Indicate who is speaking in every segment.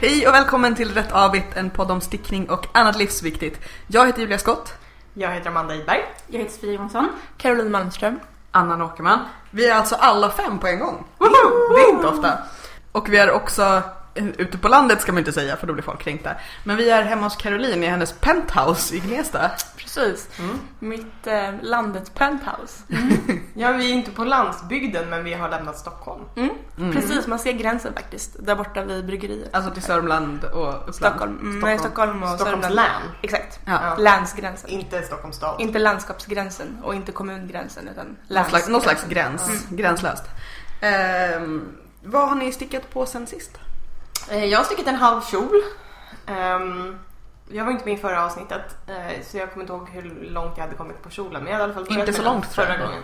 Speaker 1: Hej och välkommen till Rätt Avigt, en podd om stickning och annat livsviktigt. Jag heter Julia Skott.
Speaker 2: Jag heter Amanda Idberg.
Speaker 3: Jag heter Sofia Johansson.
Speaker 4: Caroline Malmström.
Speaker 2: Anna Åkerman.
Speaker 1: Vi är alltså alla fem på en gång.
Speaker 2: Woho!
Speaker 1: Det är inte ofta. Och vi är också eh, ute på landet ska man inte säga för då blir folk kränkta. Men vi är hemma hos Caroline i hennes penthouse i Gnesta.
Speaker 4: Precis.
Speaker 2: Mm.
Speaker 4: Mitt eh, landets penthouse.
Speaker 2: Ja, vi är inte på landsbygden men vi har lämnat Stockholm.
Speaker 4: Mm.
Speaker 1: Mm.
Speaker 4: Precis, man ser gränsen faktiskt. Där borta vid bryggeriet.
Speaker 1: Alltså till Sörmland och Uppland.
Speaker 4: Stockholm. Mm, Nej, Stockholm och
Speaker 2: Stockholms
Speaker 4: Sörmland.
Speaker 2: län.
Speaker 4: Exakt.
Speaker 1: Ja.
Speaker 4: Länsgränsen.
Speaker 2: Inte Stockholms stad.
Speaker 4: Inte landskapsgränsen och inte kommungränsen utan
Speaker 1: Någon slags,
Speaker 4: länsgränsen.
Speaker 1: någon slags gräns.
Speaker 5: Mm.
Speaker 1: Gränslöst. Ehm, vad har ni stickat på sen sist?
Speaker 2: Eh, Jag har stickat en halv kjol. Ehm, jag var inte med i förra avsnittet eh, så jag kommer inte ihåg hur långt jag hade kommit på kjolen. Men jag hade i alla fall börjat
Speaker 1: Inte
Speaker 2: med
Speaker 1: så
Speaker 2: den
Speaker 1: långt, tror
Speaker 2: förra
Speaker 1: jag.
Speaker 2: gången.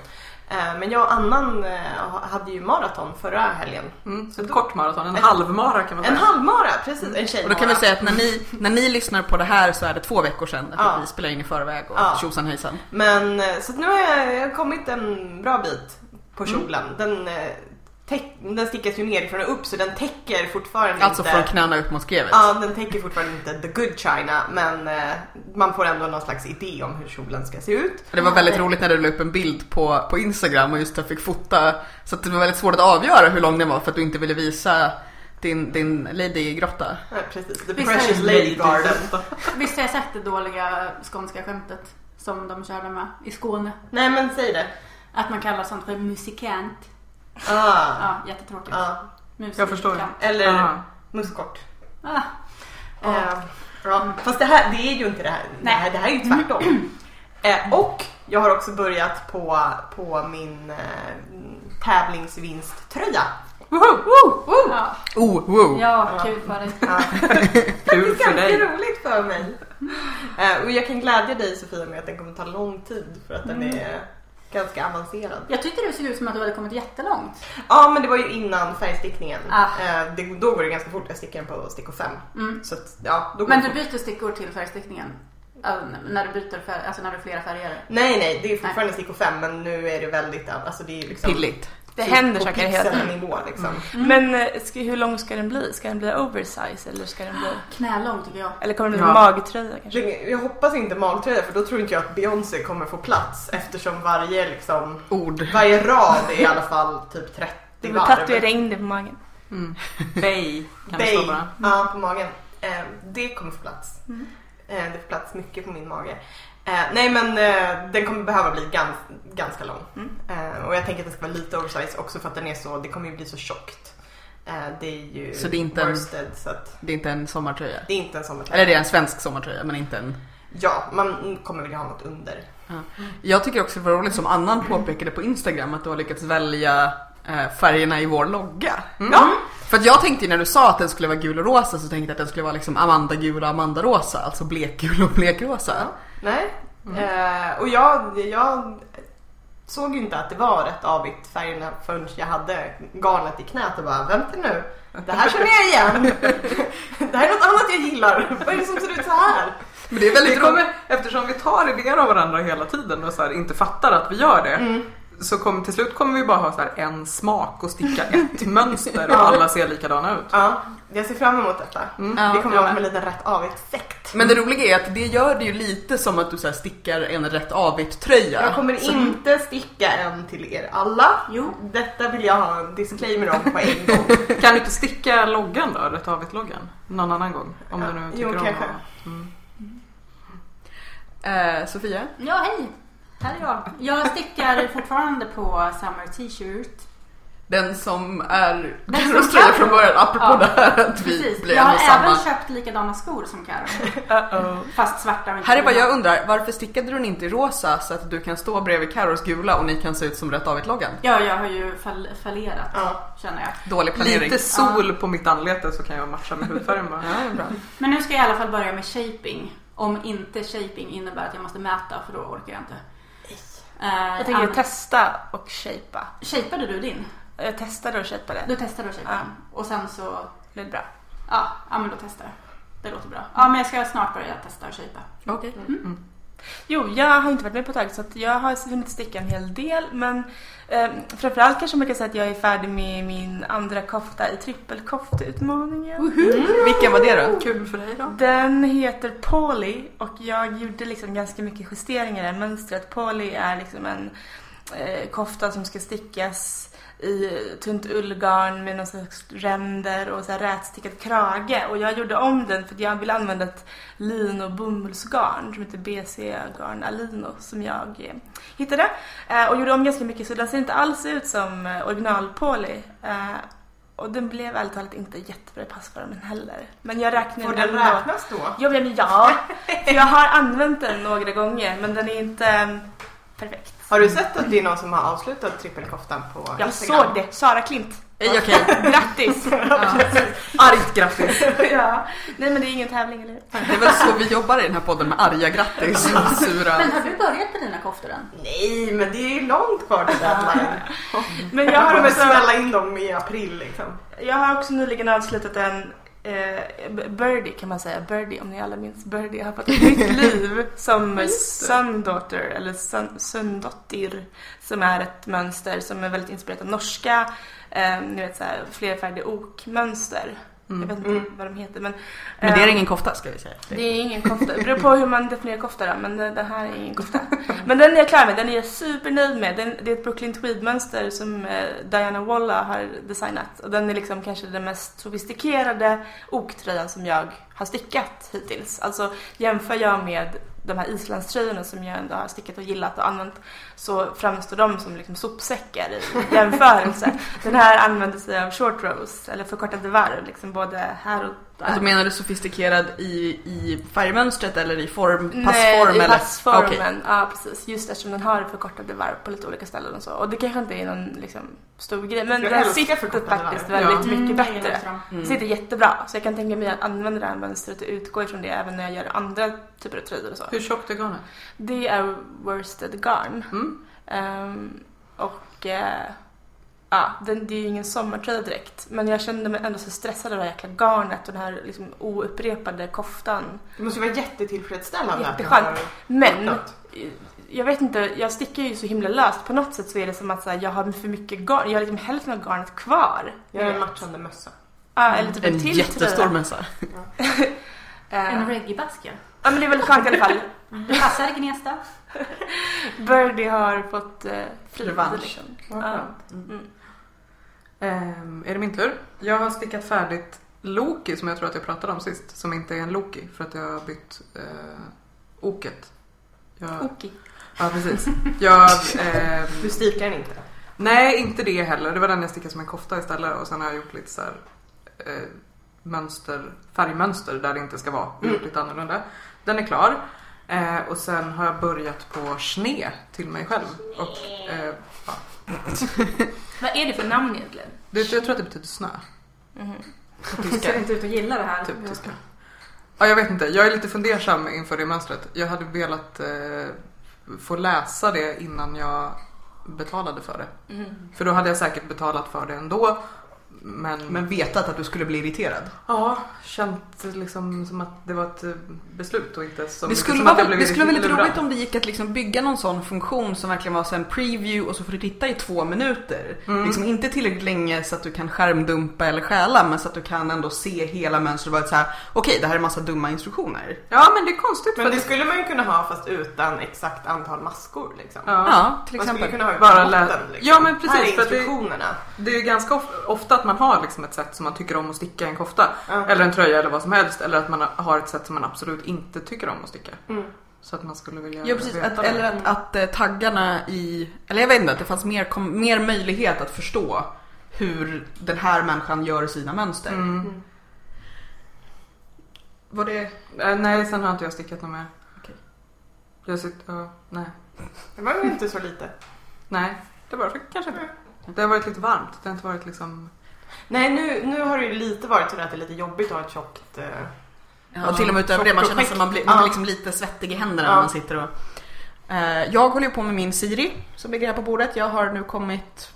Speaker 2: Eh, Men jag och Annan eh, ha- hade ju maraton förra helgen.
Speaker 5: Mm, Så
Speaker 1: Mm.
Speaker 5: ett kort maraton, en halvmara kan man
Speaker 2: En
Speaker 5: säga.
Speaker 2: halvmara, precis. En tjejmara.
Speaker 1: Och då kan vi säga att när ni, när ni lyssnar på det här så är det två veckor sedan. För
Speaker 2: Ja.
Speaker 1: Vi spelar in i förväg och
Speaker 2: Ja.
Speaker 1: tjosan hejsan.
Speaker 2: Men eh, så att nu har jag jag har kommit en bra bit på kjolen. Den, eh, täck, den stickas ju nerifrån och upp så den täcker fortfarande
Speaker 1: Alltså
Speaker 2: inte.
Speaker 1: från knäna upp mot skrevet.
Speaker 2: Ja, den täcker fortfarande inte the good china men eh, man får ändå någon slags idé om hur kjolen ska se ut.
Speaker 1: Och Det var väldigt roligt när du la upp en bild på, på Instagram och just jag fick fota. Så att det var väldigt svårt att avgöra hur lång den var för att du inte ville visa din, din ladygrotta.
Speaker 2: Ja, precis. The
Speaker 3: Visst är
Speaker 2: precious
Speaker 3: det
Speaker 2: lady garden.
Speaker 3: Visst har jag sett det dåliga skånska skämtet som de körde med i Skåne?
Speaker 2: Nej men säg det.
Speaker 3: Att man kallar sånt för musikant.
Speaker 2: Ah,
Speaker 3: Ja, jättetråkigt.
Speaker 2: ah.
Speaker 3: Musikant.
Speaker 5: Jag förstår.
Speaker 2: Eller
Speaker 5: Ja.
Speaker 2: muskort.
Speaker 3: Ah.
Speaker 2: Eh, ja. Fast det här, det är ju inte det här. Det
Speaker 3: Nej.
Speaker 2: här, det här är ju tvärtom. Eh, och jag har också börjat på, på min eh, tävlingsvinsttröja.
Speaker 3: Ja.
Speaker 1: Oh, wow!
Speaker 3: ja, kul för dig.
Speaker 2: Ja.
Speaker 5: Kul
Speaker 2: det är
Speaker 5: för
Speaker 2: ganska
Speaker 5: dig.
Speaker 2: roligt för mig. Eh, och jag kan glädja dig Sofia med att den kommer ta lång tid för att den
Speaker 3: Mm.
Speaker 2: är ganska avancerad.
Speaker 3: Jag tyckte det såg ut som att du hade kommit jättelångt.
Speaker 2: Ja men det var ju innan färgstickningen.
Speaker 3: Ah.
Speaker 2: Eh, det, då går det ganska fort. Jag stickar den på stickor 5.
Speaker 3: Mm.
Speaker 2: Så att, ja, då går
Speaker 3: Men
Speaker 2: det
Speaker 3: du
Speaker 2: fort.
Speaker 3: byter stickor till färgstickningen? Äh, När du byter färg, alltså när du har flera färger?
Speaker 2: Nej nej, det är fortfarande stickor 5 men nu är det väldigt, alltså det är ju liksom
Speaker 1: Pilligt.
Speaker 4: Det händer
Speaker 2: på
Speaker 4: saker hela tiden.
Speaker 2: pixelnivå liksom.
Speaker 4: Men eh, ska, hur lång ska den bli? Ska den bli oversize eller ska den bli...
Speaker 3: Knälång tycker jag.
Speaker 4: Eller kommer den bli
Speaker 5: Ja.
Speaker 4: magtröja kanske?
Speaker 2: Jag- Jag hoppas inte magtröja för då tror inte jag att Beyoncé kommer få plats eftersom varje liksom,
Speaker 1: Ord.
Speaker 2: varje rad är i alla fall typ 30
Speaker 4: Det
Speaker 2: varv.
Speaker 4: blir tatuering på magen.
Speaker 1: Mm.
Speaker 5: Bay kan det stå
Speaker 2: Dig.
Speaker 5: bara.
Speaker 4: Mm.
Speaker 2: Ja, på magen. Eh, det kommer få plats. Eh, det får plats mycket på min mage. Eh, nej men eh, den kommer behöva bli gans, ganska lång.
Speaker 4: Mm.
Speaker 2: Eh, och jag tänker att den ska vara lite oversize också för att den är så, det kommer ju bli så tjockt. Eh, det är ju
Speaker 1: Så det är inte en-
Speaker 2: worsted så att
Speaker 1: Det är inte en sommartröja.
Speaker 2: det är inte en sommartröja.
Speaker 1: Eller det är en svensk sommartröja men inte en...
Speaker 2: Ja, man kommer vilja ha något under.
Speaker 1: Jag tycker också det var roligt som annan påpekade på Instagram att du har lyckats välja eh, färgerna i vår logga.
Speaker 4: Mm.
Speaker 2: Ja,
Speaker 1: För att jag tänkte ju när du sa att den skulle vara gul och rosa så tänkte jag att den skulle vara liksom Amanda-gul och Amanda-rosa. Alltså blekgul och blekrosa.
Speaker 2: Nej.
Speaker 1: Mm.
Speaker 2: Eh, och jag, jag såg ju inte att det var rätt avigt färgerna förrän jag hade garnet i knät och bara vänta nu. Det här känner jag igen. det här är något annat jag gillar. Vad är det som ser ut så här?
Speaker 1: Men det är
Speaker 5: Vi
Speaker 1: väldigt roligt.
Speaker 5: kommer, eftersom vi tar idéer av varandra hela tiden och så här, inte fattar att vi gör det. Så kom, till slut kommer vi bara ha så här, en smak och sticka ett mönster och alla ser likadana ut.
Speaker 2: Ja, jag ser fram emot detta.
Speaker 1: Mm. Ja,
Speaker 2: Vi kommer
Speaker 1: jag
Speaker 2: vara
Speaker 1: med.
Speaker 2: med en liten rätt avigt sekt.
Speaker 1: Men det roliga är att det gör det ju lite som att du så här stickar en rätt avigt tröja.
Speaker 2: Jag kommer inte sticka en till er alla.
Speaker 3: Jo.
Speaker 2: Detta vill jag ha en disclaimer om på en gång.
Speaker 5: Kan du inte sticka loggan då? Rätt loggan Någon annan gång? Om du nu
Speaker 2: Ja,
Speaker 5: tycker
Speaker 2: jo,
Speaker 5: om
Speaker 2: kanske.
Speaker 5: att- Mm.
Speaker 1: Eh, Sofia?
Speaker 3: Ja, hej! Här är jag. Jag stickar fortfarande på Summer T-shirt.
Speaker 1: Den som är
Speaker 3: Den som
Speaker 1: Carros tröja
Speaker 3: Carro.
Speaker 1: från början, apropå
Speaker 3: Ja.
Speaker 1: det här att vi
Speaker 3: Precis.
Speaker 1: blir
Speaker 3: Jag
Speaker 1: en
Speaker 3: har
Speaker 1: och
Speaker 3: även
Speaker 1: samma.
Speaker 3: köpt likadana skor som Karo.
Speaker 5: Uh-oh.
Speaker 3: Fast svarta. och inte
Speaker 1: Här är vad
Speaker 3: bruna.
Speaker 1: jag undrar, varför stickade du den inte i rosa så att du kan stå bredvid Carros gula och ni kan se ut som rätt avigt-loggan?
Speaker 3: Ja, jag har ju fall- fallerat
Speaker 2: Ja.
Speaker 3: känner jag.
Speaker 1: Dålig planering.
Speaker 5: Lite sol på mitt anlete så kan jag matcha med hudfärgen bara.
Speaker 1: Ja, det är bra.
Speaker 3: Men nu ska jag i alla fall börja med shaping. Om inte shaping innebär att jag måste mäta för då orkar jag inte. Eh,
Speaker 4: Jag tänker
Speaker 3: Ann-
Speaker 4: testa och shapea.
Speaker 3: Shapade du din?
Speaker 4: Jag testade och shapeade.
Speaker 3: Du testade att shapea
Speaker 4: Ja.
Speaker 3: den. Och sen så,
Speaker 4: Det blev bra.
Speaker 3: ja, ja men då testar jag. Det låter bra. Ja men jag ska snart börja testa att shapea.
Speaker 1: Okej.
Speaker 4: Jo, jag har inte varit med på ett tag så att jag har hunnit sticka en hel del men eh, framförallt kanske man kan säga att jag är färdig med min andra kofta i trippelkoftutmaningen.
Speaker 1: Vilken var det då?
Speaker 3: Kul för dig då.
Speaker 4: Den heter Polly och jag gjorde liksom ganska mycket justeringar i mönstret. Polly är liksom en eh, kofta som ska stickas i tunt ullgarn med någon slags ränder och så här rätstickad krage. Och jag gjorde om den för att jag ville använda ett lino bomullsgarn som heter BC-garn Alino som jag eh, hittade. Eh, och gjorde om ganska mycket så den ser inte alls ut som eh, original Polly. Eh, och den blev ärligt talat inte jättebra i passformen heller. Men jag räknar
Speaker 2: Får
Speaker 4: den
Speaker 2: den
Speaker 4: ändå.
Speaker 2: räknas då?
Speaker 4: Jo, men ja. För jag har använt den några gånger men den är inte mm, perfekt.
Speaker 2: Har du sett att det är någon som har avslutat trippelkoftan på
Speaker 4: Jag såg det. Sara Klint.
Speaker 1: Ej, okej.
Speaker 4: Grattis!
Speaker 1: Ja. Argt grattis.
Speaker 4: ja. Nej men det är ingen tävling eller hur?
Speaker 1: Det är väl så vi jobbar i den här podden med arga grattis och sura.
Speaker 3: Men har du börjat med dina koftor än?
Speaker 2: Nej, men det är ju långt kvar till deadline.
Speaker 4: Men jag
Speaker 2: Mm. Jag
Speaker 4: har
Speaker 2: kommer
Speaker 4: också,
Speaker 2: smälla in dem i april liksom.
Speaker 4: jag har också nyligen avslutat en eh, b- Birdie kan man säga. Birdie om ni alla minns. Birdie har fått ett nytt liv som Sundaughter eller sun, Sundottir. Som är ett mönster som är väldigt inspirerat av norska. Eh, ni vet såhär flerfärdig ok-mönster. Jag vet inte
Speaker 2: Mm.
Speaker 4: vad de heter men.
Speaker 1: Men det
Speaker 4: eh,
Speaker 1: är ingen kofta ska vi säga.
Speaker 4: Det är ingen kofta. Det beror på hur man definierar kofta då, men det, det här är ingen kofta. Men den är jag klar med, den är jag supernöjd med. Den, det är ett Brooklyn Tweed-mönster som eh, Diana Walla har designat. Och den är liksom kanske den mest sofistikerade oktröjan som jag har stickat hittills. Alltså jämför jag med de här islandströjorna som jag ändå har stickat och gillat och använt så framstår de som liksom sopsäckar i jämförelse. Den här använder sig av short rows, eller förkortade varv, liksom både här och där.
Speaker 1: Alltså, menar du sofistikerad i, i färgmönstret eller i form,
Speaker 4: Nej,
Speaker 1: passform?
Speaker 4: i
Speaker 1: eller?
Speaker 4: passformen.
Speaker 1: Okej.
Speaker 4: Ja, precis. Just eftersom den har förkortade varv på lite olika ställen och så. Och det kanske inte är någon liksom, stor grej. Men
Speaker 2: Jag
Speaker 4: den
Speaker 2: älskar
Speaker 4: sitter
Speaker 2: förkortade
Speaker 4: faktiskt
Speaker 5: varv.
Speaker 4: väldigt mycket
Speaker 3: jag gillar
Speaker 4: bättre.
Speaker 3: också dem.
Speaker 1: Mm.
Speaker 4: Sitter jättebra. Så jag kan tänka mig att använda det här mönstret och utgå ifrån det även när jag gör andra typer av tröjor och så.
Speaker 5: Hur tjockt är garnet?
Speaker 4: Det är worsted garn.
Speaker 5: Mm.
Speaker 4: Ehm, och eh, ja, den, det är ju ingen sommartröja direkt. Men jag kände mig ändå så stressad av det här jäkla garnet och den här liksom, oupprepade koftan.
Speaker 2: Det måste ju vara jättetillfredsställande. att
Speaker 4: Jätteskönt.
Speaker 2: man har
Speaker 4: Men
Speaker 2: hittat.
Speaker 4: jag vet inte, jag stickar ju så himla löst. På något sätt så är det som att så här, jag har för mycket garn. Jag har liksom hälften av garnet kvar.
Speaker 2: Jag har en
Speaker 4: Ja,
Speaker 2: matchande mössa.
Speaker 4: eller typ en,
Speaker 1: En
Speaker 4: till
Speaker 1: jättestor
Speaker 4: tröja.
Speaker 1: mössa.
Speaker 4: Eh,
Speaker 3: En reggae-basker.
Speaker 4: Ja men det är väldigt skönt i alla fall.
Speaker 3: Det passar Gnesta.
Speaker 4: Birdie har fått eh, frid.
Speaker 2: Revansch.
Speaker 4: Liksom.
Speaker 2: Vad
Speaker 4: Ja.
Speaker 2: skönt.
Speaker 5: Ehm, är det min tur? Jag har stickat färdigt Loki som jag tror att jag pratade om sist. Som inte är en Loki för att jag har bytt eh, oket. Jag,
Speaker 4: Okej.
Speaker 5: ja, precis. Jag, ehm,
Speaker 2: Du stikar den inte.
Speaker 5: nej, inte det heller. Det var den jag stickade som en kofta istället. Och sen har jag gjort lite så här, eh, mönster, färgmönster där det inte ska vara. Jag har Gjort lite annorlunda. Den är klar. Eh, och sen har jag börjat på Sne till mig själv. Och, eh, ja.
Speaker 4: Vad är det för namn egentligen?
Speaker 5: det, typ jag tror att det betyder snö.
Speaker 4: Mhm.
Speaker 3: Du ser inte ut att gilla det här.
Speaker 5: Typ tyska. Ja, jag vet inte. Jag är lite fundersam inför det mönstret. Jag hade velat eh, få läsa det innan jag betalade för det.
Speaker 4: Mhm.
Speaker 5: För då hade jag säkert betalat för det ändå. Men,
Speaker 1: Men vetat att du skulle bli irriterad.
Speaker 5: ja, känt liksom som att det var ett eh, beslut och inte så
Speaker 1: Det
Speaker 5: mycket
Speaker 1: skulle,
Speaker 5: som
Speaker 1: vara,
Speaker 5: att jag blev
Speaker 1: det skulle vara lite
Speaker 5: lurad.
Speaker 1: roligt om det gick att liksom bygga någon sån funktion som verkligen var så en preview och så får du titta i två minuter.
Speaker 5: Mm.
Speaker 1: Liksom inte tillräckligt länge så att du kan skärmdumpa eller stjäla men så att du kan ändå se hela mönstret och vara så här: okej det här är massa dumma instruktioner.
Speaker 5: Ja, men det är konstigt för
Speaker 2: Men det
Speaker 5: att
Speaker 2: skulle man ju kunna ha fast utan exakt antal maskor liksom.
Speaker 5: Ja.
Speaker 1: Ja, till
Speaker 2: Man skulle ju
Speaker 1: exempel.
Speaker 2: kunna ha
Speaker 5: Bara
Speaker 2: bara
Speaker 5: lä-
Speaker 2: botten, liksom.
Speaker 5: Ja, men precis,
Speaker 2: Här är
Speaker 5: för att det-
Speaker 2: instruktionerna.
Speaker 5: det är ju ganska of- ofta att man har liksom ett sätt som man tycker om att sticka en kofta.
Speaker 2: Ja.
Speaker 5: Eller en tröja eller vad som helst. Eller att man har ett sätt som man absolut inte tycker om att sticka.
Speaker 2: Mm.
Speaker 5: Så att man skulle vilja
Speaker 1: Ja, precis.
Speaker 5: veta
Speaker 1: Att,
Speaker 5: det.
Speaker 1: eller att, att eh, taggarna i, eller jag vet inte, att det fanns mer, kom, mer möjlighet att förstå hur den här människan gör sina mönster.
Speaker 5: Mm.
Speaker 1: Var det,
Speaker 5: Eh, nej, sen har inte jag stickat något mer.
Speaker 1: Okej.
Speaker 5: Jag sitter, ja, nej.
Speaker 2: Det var ju inte så lite.
Speaker 5: Nej, det var det kanske inte. Det har varit lite varmt. Det har inte varit liksom...
Speaker 2: Nej, nu, nu har det ju lite varit sådär att det är lite jobbigt att ha ett tjockt... Eh...
Speaker 1: och till och med utöver det, man känner sig man blir, man
Speaker 2: Ja.
Speaker 1: blir liksom lite svettig i händerna när
Speaker 2: Ja.
Speaker 1: man sitter och... Eh, jag håller ju på med min Siri som ligger här på bordet. Jag har nu kommit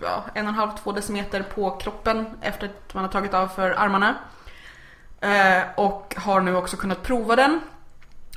Speaker 1: ja, en och en halv, två decimeter på kroppen efter att man har tagit av för armarna. Eh, och har nu också kunnat prova den.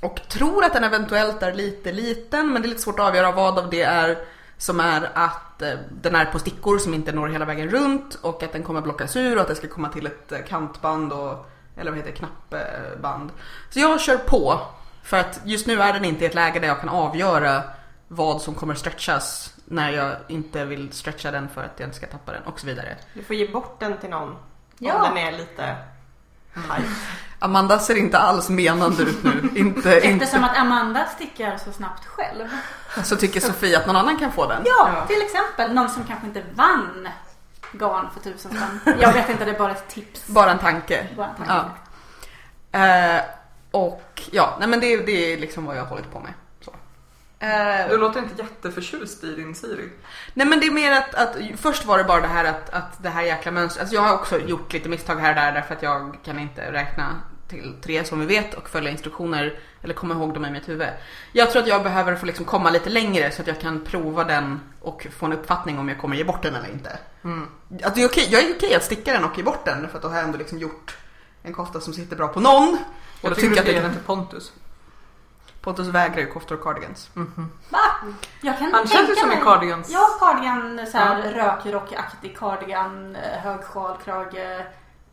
Speaker 1: Och tror att den eventuellt är lite liten men det är lite svårt att avgöra vad av det är som är att eh, den är på stickor som inte når hela vägen runt och att den kommer blockas ur och att det ska komma till ett eh, kantband och eller vad heter det, knappband. Så jag kör på för att just nu är den inte i ett läge där jag kan avgöra vad som kommer stretchas när jag inte vill stretcha den för att jag inte ska tappa den och så vidare.
Speaker 2: Du får ge bort den till någon
Speaker 1: Ja.
Speaker 2: om den är lite tight.
Speaker 1: Amanda ser inte alls menande ut nu. inte, inte.
Speaker 3: Eftersom att Amanda stickar så snabbt själv.
Speaker 1: Så tycker Sofie att någon annan kan få den.
Speaker 3: Ja, till exempel någon som kanske inte vann garn för tusen spänn. Jag vet inte, det är bara ett tips.
Speaker 1: Bara en tanke.
Speaker 3: Bara en tanke.
Speaker 1: Ja. Eh, och ja, nej men det, det är liksom vad jag har hållit på med. Så. Eh,
Speaker 5: Du låter inte jätteförtjust i din Siri.
Speaker 1: nej men det är mer att, att först var det bara det här att, att det här jäkla mönstret. Alltså jag har också gjort lite misstag här och där därför att jag kan inte räkna till tre som vi vet och följa instruktioner eller komma ihåg dem i mitt huvud. Jag tror att jag behöver få liksom komma lite längre så att jag kan prova den och få en uppfattning om jag kommer ge bort den eller inte.
Speaker 5: Mm.
Speaker 1: Att det är okej, jag är okej att sticka den och ge bort den för att då har jag ändå liksom gjort en kofta som sitter bra på någon. Och
Speaker 5: Jag
Speaker 1: då tycker
Speaker 5: tycker du
Speaker 1: jag
Speaker 5: ska ge
Speaker 1: att
Speaker 5: den
Speaker 1: det,
Speaker 5: till Pontus.
Speaker 1: Pontus vägrar ju koftor och cardigans.
Speaker 3: Va? Jag kan
Speaker 5: Han känns ju
Speaker 3: tänka
Speaker 5: som en
Speaker 3: mig-
Speaker 5: cardigans.
Speaker 3: Ja, cardigan så här rökrockaktig cardigan, eh, hög sjal, krage,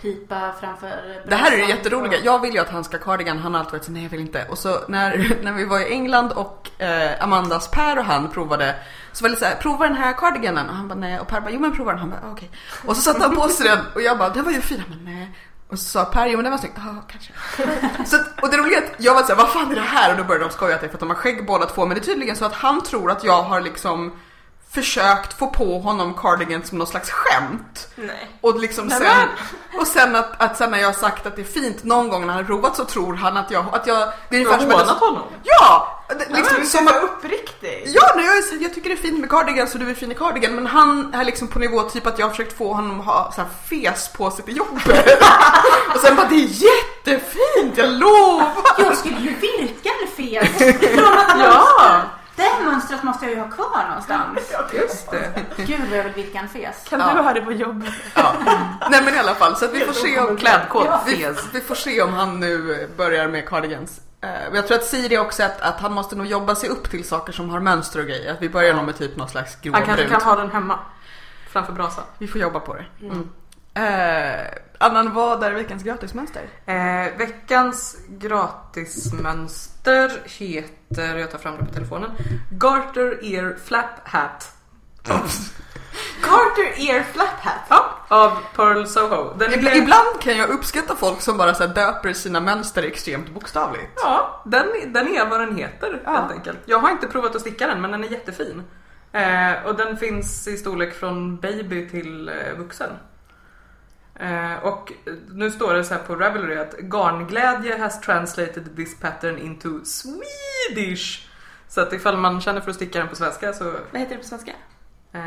Speaker 3: pipa framför
Speaker 1: Det här är det
Speaker 3: brasan.
Speaker 1: jätteroliga. Jag vill ju att han ska ha cardigan, han har alltid varit så nej jag vill inte. Och så när, när vi var i England och eh, Amandas Per och han provade så var det så här, prova den här cardiganen och han bara nej och Per bara jo men prova den, han bara "Ah, okej. Och så satte han på sig den och jag bara den var ju fin, Han bara nej. Och så sa Per, jo men den var snygg, ja kanske. Så att, och det roliga är att jag var såhär, vad fan är det här? Och då började de skoja att det är för att de har skägg båda två. Men det är tydligen så att han tror att jag har liksom försökt få på honom cardigan som någon slags skämt.
Speaker 4: Nej.
Speaker 1: Och liksom sen, och sen att, att sen när jag har sagt att det är fint någon gång när han har rovat så tror han att jag, att jag det är
Speaker 5: Du har
Speaker 1: ungefär som
Speaker 5: hånat
Speaker 1: att
Speaker 5: honom.
Speaker 1: Ja! Det, liksom,
Speaker 2: men,
Speaker 1: som
Speaker 2: du är
Speaker 1: att,
Speaker 2: så uppriktig.
Speaker 1: ja, när jag, är så- jag tycker det är fint med cardigan så du är fin i cardigan men han är liksom på nivå typ att jag har försökt få honom att ha så här fes på sig till jobbet. och sen bara det är jättefint, jag lovar!
Speaker 3: Jag skulle ju virka en fet från att
Speaker 5: Ja.
Speaker 3: mönster. Det mönstret måste jag ju ha kvar någonstans.
Speaker 5: Just det.
Speaker 3: Gud vad jag vill virka en fes.
Speaker 4: Kan
Speaker 1: Ja.
Speaker 4: du ha det på jobbet?
Speaker 1: Ja. Nej men i alla fall så att vi får se om
Speaker 5: Klädkod,
Speaker 1: Ja. Vi,
Speaker 5: fes.
Speaker 1: vi får se om han nu börjar med cardigans. Eh, och Jag tror att Siri också att, att han måste nog jobba sig upp till saker som har mönster och grejer. Att vi börjar nog med typ någon slags
Speaker 5: Han kanske
Speaker 1: gråbrunt.
Speaker 5: kan ha den hemma. Framför brasan.
Speaker 1: Vi får jobba på det. Mm. Eh, Annan, vad är veckans gratismönster?
Speaker 5: Eh, veckans gratismönster heter, jag tar fram det på telefonen, Garter Ear Flap Hat.
Speaker 1: Mm.
Speaker 2: Carter Ear Flap Hat.
Speaker 5: Ja, av Pearl Soho. Den
Speaker 1: Ibla, ibland kan jag uppskatta folk som bara så här döper sina mönster extremt bokstavligt.
Speaker 5: Ja, den, den är vad den heter helt enkelt. Jag har inte provat att sticka den men den är jättefin. Eh, och den finns i storlek från baby till eh, vuxen. Eh, och eh, nu står det så här på Ravelry att garnglädje has translated this pattern into Swedish. Så att ifall man känner för att sticka den på svenska så,
Speaker 4: Vad heter det på svenska?
Speaker 5: eh,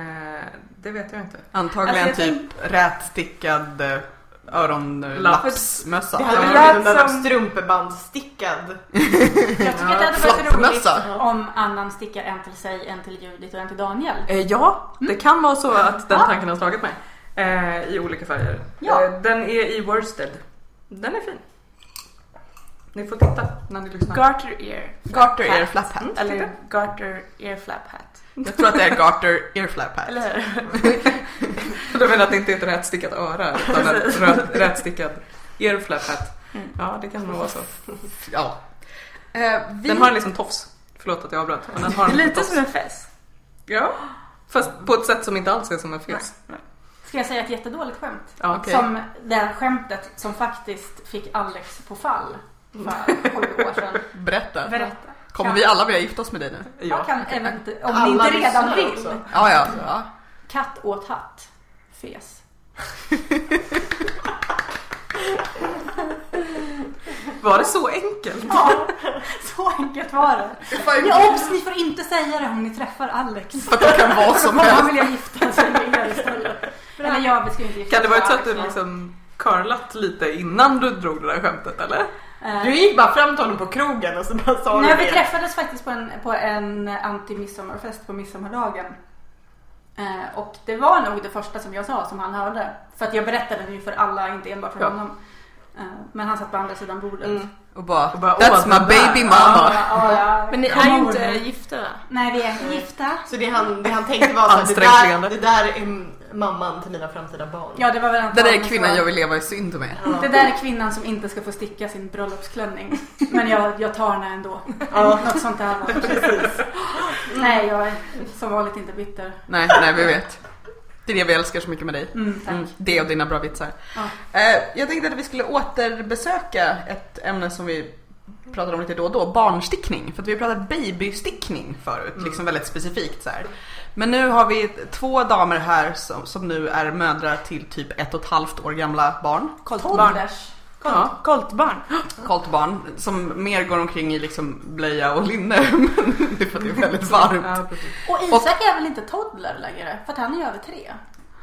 Speaker 5: det vet jag inte.
Speaker 1: Antagligen
Speaker 4: Alltså, jag
Speaker 1: typ rätstickad eh,
Speaker 5: Laps.
Speaker 1: öronlappsmössa.
Speaker 2: Det hade
Speaker 5: Ja.
Speaker 2: blivit en
Speaker 4: Lät
Speaker 2: där
Speaker 3: Alltså-
Speaker 4: som-
Speaker 2: strumpebandstickad.
Speaker 3: Jag tycker att det hade varit
Speaker 1: Flappmössa.
Speaker 3: roligt om annan stickar en till sig, en till Judith och en till Daniel.
Speaker 5: Eh, ja, det kan vara så att den
Speaker 3: Ja.
Speaker 5: tanken har slagit mig. Eh, I olika färger.
Speaker 3: Ja.
Speaker 5: Eh, den är i worsted. Den är fin. Ni får titta när ni lyssnar.
Speaker 4: Garter ear. Typ.
Speaker 1: Garter ear
Speaker 4: Hat.
Speaker 1: flap hat.
Speaker 4: Eller garter ear flap hat.
Speaker 1: Jag tror att det är garter ear flap hat.
Speaker 4: Eller hur?
Speaker 5: Du menar att det inte är ett rätstickat öra utan ett röt- rätstickad earflap hat.
Speaker 4: Mm.
Speaker 5: Ja, det kan nog vara så.
Speaker 1: Ja. Eh, vi...
Speaker 5: Den har en liksom tofs. Förlåt att jag avbröt. Men den har en
Speaker 4: Lite
Speaker 5: tofs.
Speaker 4: som en fess.
Speaker 5: Ja. Fast på ett sätt som inte alls är som en fes.
Speaker 3: Ska jag säga ett jättedåligt skämt?
Speaker 5: Ja.
Speaker 1: Okej.
Speaker 3: Som det här skämtet som faktiskt fick Alex på fall för sju år sedan.
Speaker 1: Berätta.
Speaker 3: Berätta.
Speaker 1: Kommer
Speaker 3: Kan-
Speaker 1: vi alla vilja gifta oss med dig nu?
Speaker 3: Ja,
Speaker 5: Ja.
Speaker 3: kan eventu- om
Speaker 2: Alla
Speaker 3: ni inte redan
Speaker 2: lyssnar
Speaker 3: vill.
Speaker 2: också.
Speaker 1: Ja, ja. ja.
Speaker 3: Katt åt hatt. Fes.
Speaker 5: Var det så enkelt?
Speaker 3: Ja, så enkelt var det.
Speaker 1: Fan,
Speaker 3: Ja, obs, ni får inte säga det om ni träffar Alex.
Speaker 1: För att det kan vara som
Speaker 3: Då
Speaker 1: helst.
Speaker 3: vill jag gifta sig med er istället. Eller jag vi ska ju inte gifta
Speaker 5: Kan det
Speaker 3: oss,
Speaker 5: varit så att du
Speaker 3: Alex, men-
Speaker 5: liksom curlat lite innan du drog det där skämtet eller?
Speaker 3: Eh,
Speaker 2: Du gick bara fram till honom på krogen och så bara sa
Speaker 3: Nej,
Speaker 2: du
Speaker 3: vi träffades faktiskt på en, på en anti-midsommarfest på midsommardagen. Eh, och det var nog det första som jag sa som han hörde. För att jag berättade det ju för alla, inte enbart för
Speaker 5: Ja.
Speaker 3: honom. Eh, Men han satt på andra sidan bordet.
Speaker 2: Mm.
Speaker 1: Och bara,
Speaker 5: Och bara,
Speaker 1: that's
Speaker 5: åh,
Speaker 1: my
Speaker 5: den där.
Speaker 1: baby
Speaker 3: Ja,
Speaker 1: mama.
Speaker 3: ja, ja.
Speaker 4: Men ni
Speaker 3: Kom
Speaker 4: är ju
Speaker 3: ihåg
Speaker 4: inte
Speaker 3: det.
Speaker 4: gifta va?
Speaker 3: Nej, vi är
Speaker 1: Mm.
Speaker 3: inte gifta.
Speaker 2: Så det han, det han tänkte var att det där,
Speaker 5: Ansträngande.
Speaker 2: det där är m- mamman till mina framtida barn.
Speaker 3: Ja, det var
Speaker 1: Den
Speaker 3: väl
Speaker 1: där
Speaker 3: antagligen
Speaker 1: kvinnan
Speaker 3: så.
Speaker 1: jag vill leva i synd med.
Speaker 2: Ja.
Speaker 3: Det där är kvinnan som inte ska få sticka sin bröllopsklänning. Men jag, jag tar henne ändå.
Speaker 2: Ja.
Speaker 3: Något sånt där var
Speaker 2: Precis.
Speaker 3: Nej, jag är som vanligt inte bitter.
Speaker 1: Nej, nej vi vet. Det är det vi älskar så mycket med dig.
Speaker 3: Mm, tack.
Speaker 1: Mm, det och dina bra vitsar.
Speaker 3: Ja.
Speaker 1: Eh, jag tänkte att vi skulle återbesöka ett ämne som vi pratar om lite då och då, barnstickning. För att vi har pratat babystickning förut, liksom väldigt specifikt så här. Men nu har vi två damer här som, som nu är mödrar till typ ett och ett halvt år gamla barn.
Speaker 4: Koltbarn.
Speaker 5: Ja.
Speaker 4: Koltbarn.
Speaker 1: Kallt barn som mer går omkring i liksom blöja och linne. Men det är för att det är väldigt varmt.
Speaker 5: Ja, precis.
Speaker 3: Och Isak är väl inte toddler längre? För att han är ju över tre.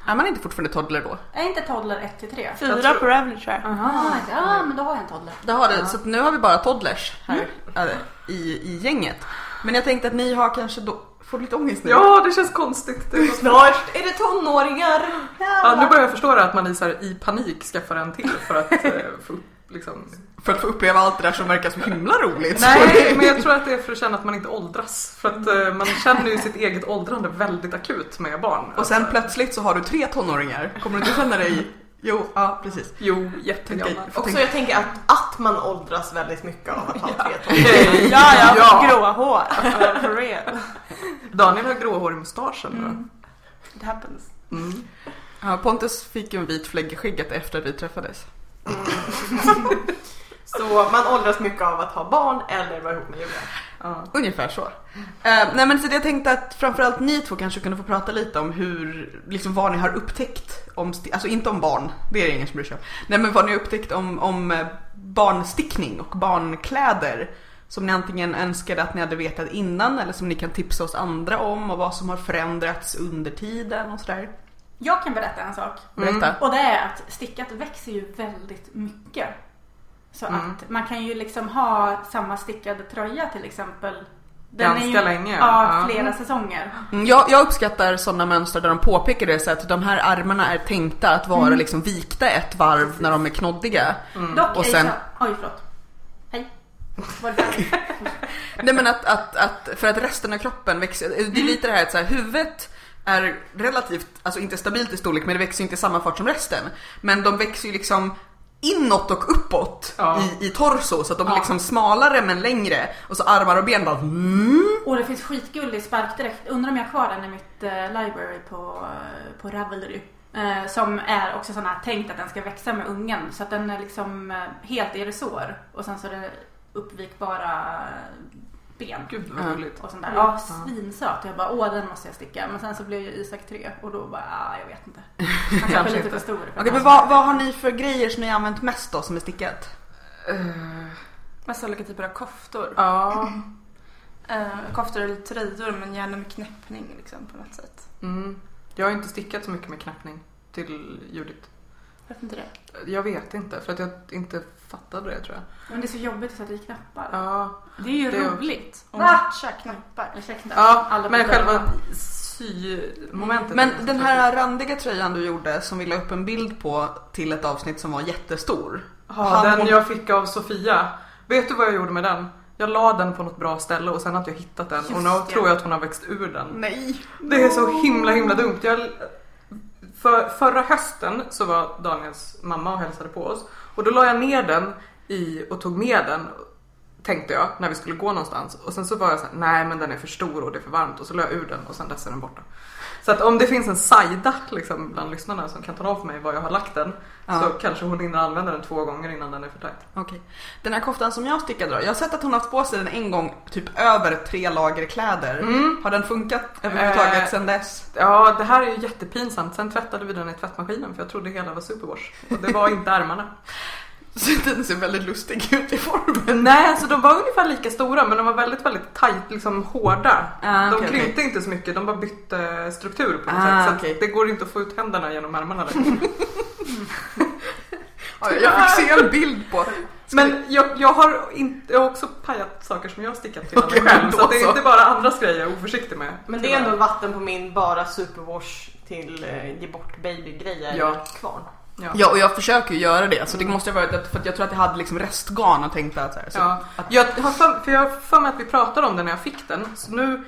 Speaker 1: Är man inte fortfarande toddler då?
Speaker 3: Är inte toddler ett till tre?
Speaker 4: Fyra på Ravelry tror jag.
Speaker 3: Aha, ja, men då har jag en toddler.
Speaker 1: Det har det. Så att nu har vi bara toddlers här
Speaker 5: Mm.
Speaker 1: äh, i, i gänget. Men jag tänkte att ni har kanske då... Får du lite ångest nu?
Speaker 5: ja, det känns konstigt. Det är-
Speaker 2: Snart är det tonåringar.
Speaker 5: Ja, nu börjar jag förstå det, att man i, så här, i panik skaffar en till för att eh, få upp liksom...
Speaker 1: För att få uppleva allt det där som verkar så himla roligt.
Speaker 5: Nej, men jag tror att det är för att känna att man inte åldras. För att eh, man känner ju sitt eget åldrande väldigt akut med barn. Alltså,
Speaker 1: Och sen plötsligt så har du tre tonåringar. Kommer du inte känna dig... Jo, ja precis.
Speaker 5: Jo,
Speaker 1: Okej,
Speaker 5: jättegammal.
Speaker 1: och
Speaker 2: Också
Speaker 1: tänk-
Speaker 2: jag tänker att, att man åldras väldigt mycket av att ha tre tonåringar.
Speaker 5: Okej.
Speaker 4: Ja, jag har fått gråa hår. Alltså, for real.
Speaker 5: Daniel har gråhårig mustasch ändå.
Speaker 4: It happens.
Speaker 5: Mm.
Speaker 1: Ja, Pontus fick ju en vit flägg i skägget efter att vi träffades.
Speaker 2: Mm. Så man åldras mycket av att ha barn eller vara ihop med Julia.
Speaker 5: Ja.
Speaker 1: Ungefär så. Eh, nej men så jag tänkte att framförallt ni två kanske kunde få prata lite om hur, liksom vad ni har upptäckt om, sti- alltså inte om barn, det är det ingen som bryr sig om. Nej men vad ni har upptäckt om, om eh, barnstickning och barnkläder. Som ni antingen önskade att ni hade vetat innan eller som ni kan tipsa oss andra om och vad som har förändrats under tiden och sådär.
Speaker 3: Jag kan berätta en sak.
Speaker 1: Berätta.
Speaker 3: Och det är att stickat växer ju väldigt mycket. Så att man kan ju liksom ha samma stickade tröja till exempel.
Speaker 5: Ganska länge,
Speaker 3: Ja,
Speaker 5: ja.
Speaker 3: flera säsonger.
Speaker 1: Mm, Jag, jag uppskattar sådana mönster där de påpekar det så att de här armarna är tänkta att vara liksom vikta ett varv när de är knoddiga.
Speaker 3: Dock
Speaker 1: Och
Speaker 3: och
Speaker 1: sen-
Speaker 3: sen... Oj, förlåt. Hej. Var det där?
Speaker 1: Nej men att, att, att, för att resten av kroppen växer, det är lite det här att så här, huvudet är relativt, alltså inte stabilt i storlek men det växer ju inte i samma fart som resten. Men de växer ju liksom inåt och uppåt
Speaker 5: Ja.
Speaker 1: i, i torso så att de är
Speaker 3: Ja.
Speaker 1: liksom smalare men längre och så armar och ben bara mm.
Speaker 3: Och det finns skitgullig sparkdräkt. Undrar om jag har kvar den i mitt eh, library på, på Ravelry. Eh, som är också sån här tänkt att den ska växa med ungen. Så att den är liksom eh, helt i resår. Och sen så är det uppvikbara ben.
Speaker 5: Gud vad roligt.
Speaker 3: Och sånt där. Ja, svinsöt. Jag bara, åh den måste jag sticka. Men sen så blev ju Isak tre och då bara, ah, jag vet inte. Han kanske är lite
Speaker 5: inte.
Speaker 3: för stor. för
Speaker 1: Okej
Speaker 3: den
Speaker 1: men
Speaker 3: här.
Speaker 1: vad, vad har ni för grejer som ni har använt mest då som är stickat?
Speaker 4: Massa olika typer av koftor.
Speaker 5: Ja.
Speaker 4: Eh, koftor eller tröjor men gärna med knäppning liksom på något sätt.
Speaker 5: Mm. Jag har inte stickat så mycket med knäppning till Judith.
Speaker 4: Varför inte det?
Speaker 5: Jag vet inte, för att jag inte fattade det tror jag.
Speaker 3: Men det är så jobbigt att det är knappar.
Speaker 5: Ja,
Speaker 4: Det är ju
Speaker 5: Det är också-
Speaker 4: roligt. Och
Speaker 3: Va?
Speaker 4: matcha knappar.
Speaker 3: Ursäkta.
Speaker 5: ja
Speaker 3: Alla
Speaker 5: men
Speaker 3: på dörren.
Speaker 5: själva symomentet. är
Speaker 1: Men
Speaker 5: liksom
Speaker 1: den här randiga tröjan du gjorde som vi la upp en bild på till ett avsnitt som var jättestor.
Speaker 5: Ja, den jag fick av Sofia. Vet du vad jag gjorde med den? Jag la den på något bra ställe och sen att jag hittat den och nu
Speaker 3: Just det.
Speaker 5: tror jag att hon har växt ur den.
Speaker 1: Nej!
Speaker 5: Det är så himla himla dumt. Jag, för, förra hösten så var Daniels mamma och hälsade på oss och då la jag ner den i och tog med den tänkte jag när vi skulle gå någonstans och sen så var jag så här, nej men den är för stor och det är för varmt och så la jag ur den och sen dess är den borta. Så att om det finns en sajda liksom bland lyssnarna som kan tala om för mig var jag har lagt den
Speaker 1: Ja.
Speaker 5: så kanske hon hinner använda den två gånger innan den är för tajt.
Speaker 1: Okej. Den här koftan som jag stickade då. Jag har sett att hon har haft på sig den en gång, typ över tre lager kläder.
Speaker 5: Mm.
Speaker 1: Har den funkat överhuvudtaget
Speaker 5: Eh.
Speaker 1: sedan dess?
Speaker 5: Ja, det här är ju jättepinsamt. Sen tvättade vi den i tvättmaskinen för jag trodde hela var superwash och det var inte ärmarna.
Speaker 1: Så den ser väldigt lustig ut i formen.
Speaker 5: Nej, alltså de var ungefär lika stora men de var väldigt, väldigt tajt, liksom hårda.
Speaker 1: Ah,
Speaker 5: de
Speaker 1: okej,
Speaker 5: krympte inte så mycket, de bara bytte struktur på något
Speaker 1: Ah,
Speaker 5: sätt. Så
Speaker 1: okej.
Speaker 5: att det går inte att få ut händerna genom ärmarna längre.
Speaker 1: Ja, Jag fick se en bild på.
Speaker 5: Men jag, jag, har inte, jag har också pajat saker som jag har stickat till
Speaker 1: Okej,
Speaker 5: mig själv.
Speaker 1: då
Speaker 5: Så att det
Speaker 1: så.
Speaker 5: är inte bara andras grejer jag är oförsiktig med.
Speaker 2: Men det är ändå vatten på min bara superwash till eh, ge bort baby-grejer
Speaker 5: Ja.
Speaker 2: kvar.
Speaker 5: Ja.
Speaker 1: Ja, och jag försöker ju göra det. Så det måste ha varit att, för att jag tror att jag hade liksom restgarn och tänkte att så här, så.
Speaker 5: Ja. Jag har för, för jag har för mig att vi pratade om den när jag fick den. Så nu,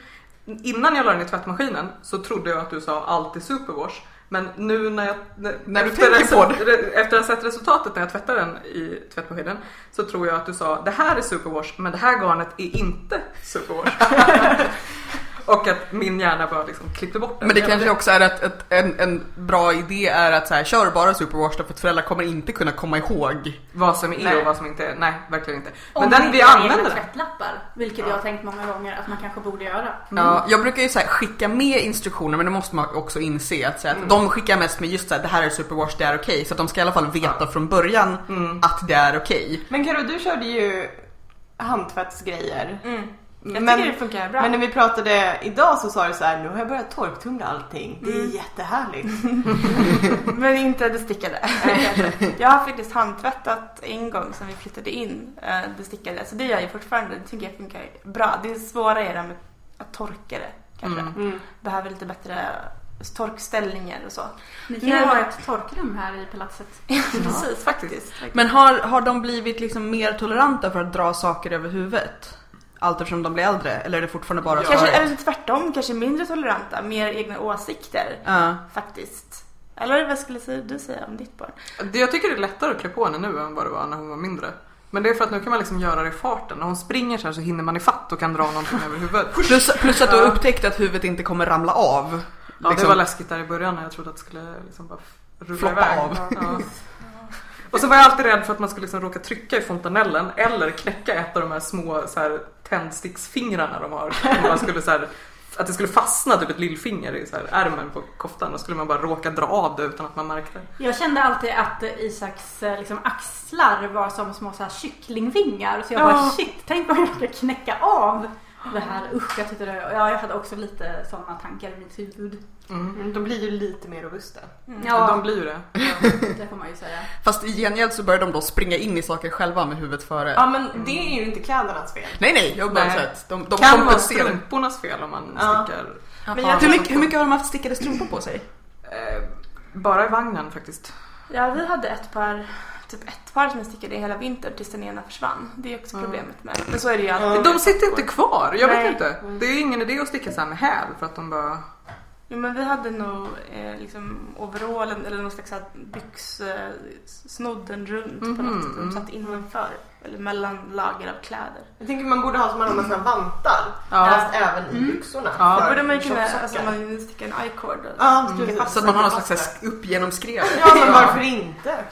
Speaker 5: innan jag la den i tvättmaskinen så trodde jag att du sa alltid superwash. Men nu när jag... När,
Speaker 1: du tänker på
Speaker 5: det. Efter att ha sett resultatet när jag tvättade den i tvättmaskinen så tror jag att du sa det här är superwash men det här garnet är inte superwash. Och att min hjärna bara liksom klippte bort den.
Speaker 1: Men det
Speaker 5: Jag
Speaker 1: kanske
Speaker 5: bara,
Speaker 1: också är att, att en, en bra idé är att så här, kör bara superwash därför att föräldrar kommer inte kunna komma ihåg.
Speaker 5: Vad som är
Speaker 2: Nej.
Speaker 5: och vad som inte är. Nej, verkligen inte.
Speaker 3: Om
Speaker 5: Men
Speaker 3: man
Speaker 5: den vi
Speaker 3: inte har
Speaker 5: använder
Speaker 3: egna
Speaker 5: den.
Speaker 3: tvättlappar, vilket jag har tänkt många gånger att man kanske borde göra.
Speaker 1: Ja, jag brukar ju så här, skicka med instruktioner men då måste man också inse att, så här, att de skickar mest med just så här, det här är superwash, det är okej. Så att de ska i alla fall veta från början
Speaker 5: Mm.
Speaker 1: att det är okej.
Speaker 2: Men Karo, du körde ju hantvättsgrejer.
Speaker 4: Mm. Jag
Speaker 2: Men-
Speaker 4: tycker det funkar bra.
Speaker 2: Men när vi pratade idag så sa du så här, nu har jag börjat torktumla allting. Det är jättehärligt.
Speaker 4: Men inte det stickade. jag har faktiskt handtvättat en gång sen vi flyttade in eh, det stickade. Så det gör jag fortfarande. Det tycker jag funkar bra. Det är svårare är det här med att torka det kanske.
Speaker 5: Mm.
Speaker 4: Behöver lite bättre torkställningar och så.
Speaker 3: Ni kan ju
Speaker 4: Nej.
Speaker 3: ha ett torkrum här i palatset.
Speaker 4: Precis, faktiskt.
Speaker 1: Men har, har de blivit liksom mer toleranta för att dra saker över huvudet? Allt eftersom de blir äldre? Eller är det fortfarande bara
Speaker 4: Kanske,
Speaker 1: förut?
Speaker 4: eller tvärtom, kanske mindre toleranta. Mer egna åsikter
Speaker 1: Ja.
Speaker 4: faktiskt. Eller vad skulle säga- du säga om ditt barn?
Speaker 5: Det, jag tycker det är lättare att klä på henne nu än vad det var när hon var mindre. Men det är för att nu kan man liksom göra det i farten. När hon springer så här så hinner man i fatt och kan dra någonting över huvudet.
Speaker 1: Plus, plus att du har
Speaker 5: Ja.
Speaker 1: upptäckt att huvudet inte kommer ramla av.
Speaker 5: Ja, det
Speaker 1: Liksom.
Speaker 5: var läskigt där i början när jag trodde att det skulle liksom bara rulla
Speaker 1: Floppa
Speaker 5: iväg.
Speaker 1: av.
Speaker 5: Ja. Och så var jag alltid rädd för att man skulle liksom råka trycka i fontanellen eller knäcka ett av de här små så här, tändsticksfingrarna de har. Om Man skulle, så här, att det skulle fastna typ ett lillfinger i så här, ärmen på koftan. Då skulle man bara råka dra av det utan att man märkte.
Speaker 3: Jag kände alltid att eh, Isaks eh, liksom, axlar var som små så här, kycklingvingar. Så jag bara
Speaker 4: Ja.
Speaker 3: shit, tänk om jag skulle knäcka av det här. Usch, jag tyckte det. Ja, jag hade också lite sådana tankar i mitt huvud.
Speaker 5: Mm.
Speaker 2: Mm, De blir ju lite mer robusta.
Speaker 5: Ja.
Speaker 3: Ja,
Speaker 5: De blir ju det.
Speaker 3: det får man ju säga.
Speaker 1: Fast i gengäld så börjar de då springa in i saker själva med huvudet före.
Speaker 2: Ja men det är ju inte klädernas fel.
Speaker 1: Nej nej, jag har bara
Speaker 5: Nej.
Speaker 1: sett. att de, de
Speaker 5: kan vara
Speaker 1: kompenserar.
Speaker 5: strumpornas fel om man
Speaker 2: Ja.
Speaker 5: stickar.
Speaker 4: Men jag
Speaker 1: hur,
Speaker 4: tror-
Speaker 1: mycket, hur mycket har de haft stickade strumpor på sig?
Speaker 5: Eh, bara i vagnen faktiskt.
Speaker 4: Ja, vi hade ett par, typ ett par som jag stickade i hela vintern tills den ena försvann. Det är också
Speaker 5: Mm.
Speaker 4: problemet med. Men så är det ju alltid.
Speaker 2: Mm.
Speaker 5: De sitter inte kvar, jag
Speaker 4: Nej.
Speaker 5: vet inte. Det är ingen idé att sticka så här med häl för att de bara...
Speaker 4: Jo, men vi hade nog eh, liksom overallen eller någon slags så här byx, eh, snodden runt på något sätt.
Speaker 5: Mhm.
Speaker 4: De satt innanför eller mellan lager av kläder.
Speaker 2: Jag tänker man borde ha som man har med sina vantar.
Speaker 5: Ja.
Speaker 2: Fast även i byxorna.
Speaker 5: Ja,
Speaker 4: Ja,
Speaker 2: för
Speaker 4: borde man ju kunna
Speaker 2: tjocksockar.
Speaker 4: alltså, man stickar en i-cord och
Speaker 2: Ja,
Speaker 4: sticka
Speaker 2: precis.
Speaker 4: fast
Speaker 1: Så att man har någon
Speaker 4: den.
Speaker 1: slags så här sk- uppgenomskrev.
Speaker 2: Ja men varför inte?